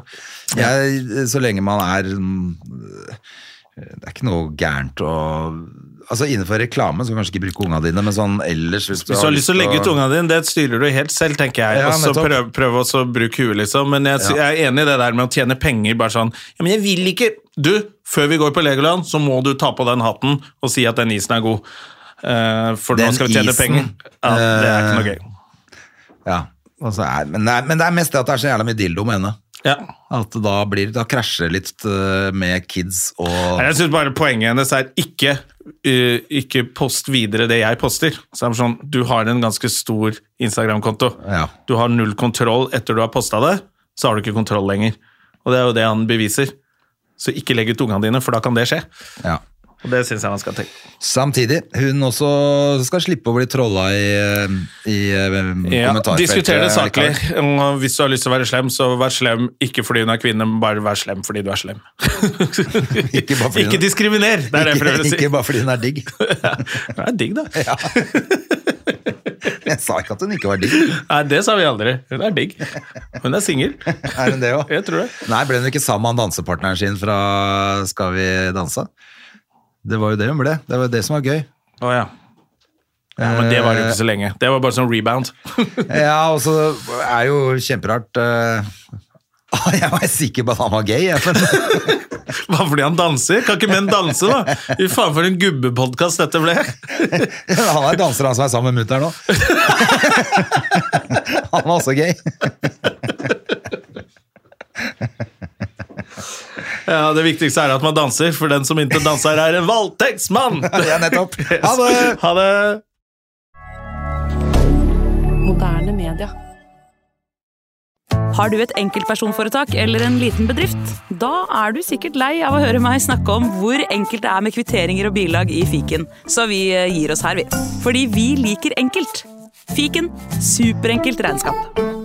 Jeg, så lenge man er mm, Det er ikke noe gærent å Altså Innenfor reklame så kan du kanskje ikke bruke unga dine, men sånn ellers Hvis
Hvis du har lyst til å legge ut ungene dine, det styrer du helt selv, tenker jeg.
Ja,
og så
nettopp.
prøv, prøv også å bruke huet, liksom. Men jeg, sy- jeg er enig i det der med å tjene penger, bare sånn Ja, men jeg vil ikke Du, før vi går på Legoland, så må du ta på den hatten og si at den isen er god. Eh, for
Den
nå skal vi tjene
isen. eh,
penger. Ja, det er ikke noe gøy.
Ja, altså, er, men, det er, men det er mest det at det er så jævla mye dildo med henne.
Ja.
At da, blir, da krasjer det litt eh, med kids og
Nei, Jeg syns bare poenget hennes er ikke eh, ikke post videre det jeg poster. Så er det sånn, Du har en ganske stor Instagram-konto.
Ja.
Du har null kontroll etter du har posta det, så har du ikke kontroll lenger. Og det er jo det han beviser. Så ikke legg ut ungene dine, for da kan det skje.
ja.
Og det synes jeg han skal tenke.
Samtidig, hun også skal slippe å bli trolla i, eh, i eh,
Ja,
kommentarfeltet.
Diskuter det saklig.
allikevel.
Mm, Og Hvis du har lyst til å være slem, så vær slem. Ikke fordi hun er kvinne, men bare vær slem fordi du er slem.
[LAUGHS] Ikke bare fordi hun-
Ikke diskriminer! Det er det jeg prøver å
Ikke,
si.
ikke bare fordi hun er digg.
Det er digg, da.
[LAUGHS] Jeg sa ikke at hun ikke var digg.
Nei, det sa vi aldri. Hun er digg. Hun er singel.
Er hun det òg?
Jeg tror det.
Nei, ble hun ikke sammen med han dansepartneren sin fra Skal vi danse? Det var jo det hun ble. Det var jo det som var gøy.
Å ja. ja. Men det var jo ikke så lenge. Det var bare sånn rebound.
Ja, og så er jo kjemperart eh, [LAUGHS] Jeg var sikker på at han var gay, jeg. Men
[LAUGHS] Bare fordi han danser. Kan ikke menn danse, da? Fy faen, for en gubbepodkast dette ble.
han er danser, han som er sammen med mutter'n nå. [LAUGHS] Han var også gay.
Ja, Det viktigste er at man danser, for den som ikke danser, er en voldtektsmann!
Ja, nettopp. Ha det!
Ha det!
Moderne media. Har du et enkeltpersonforetak eller en liten bedrift? Da er du sikkert lei av å høre meg snakke om hvor enkelt det er med kvitteringer og bilag i fiken, så vi eh, gir oss her, vi. Fordi vi liker enkelt. Fiken superenkelt regnskap.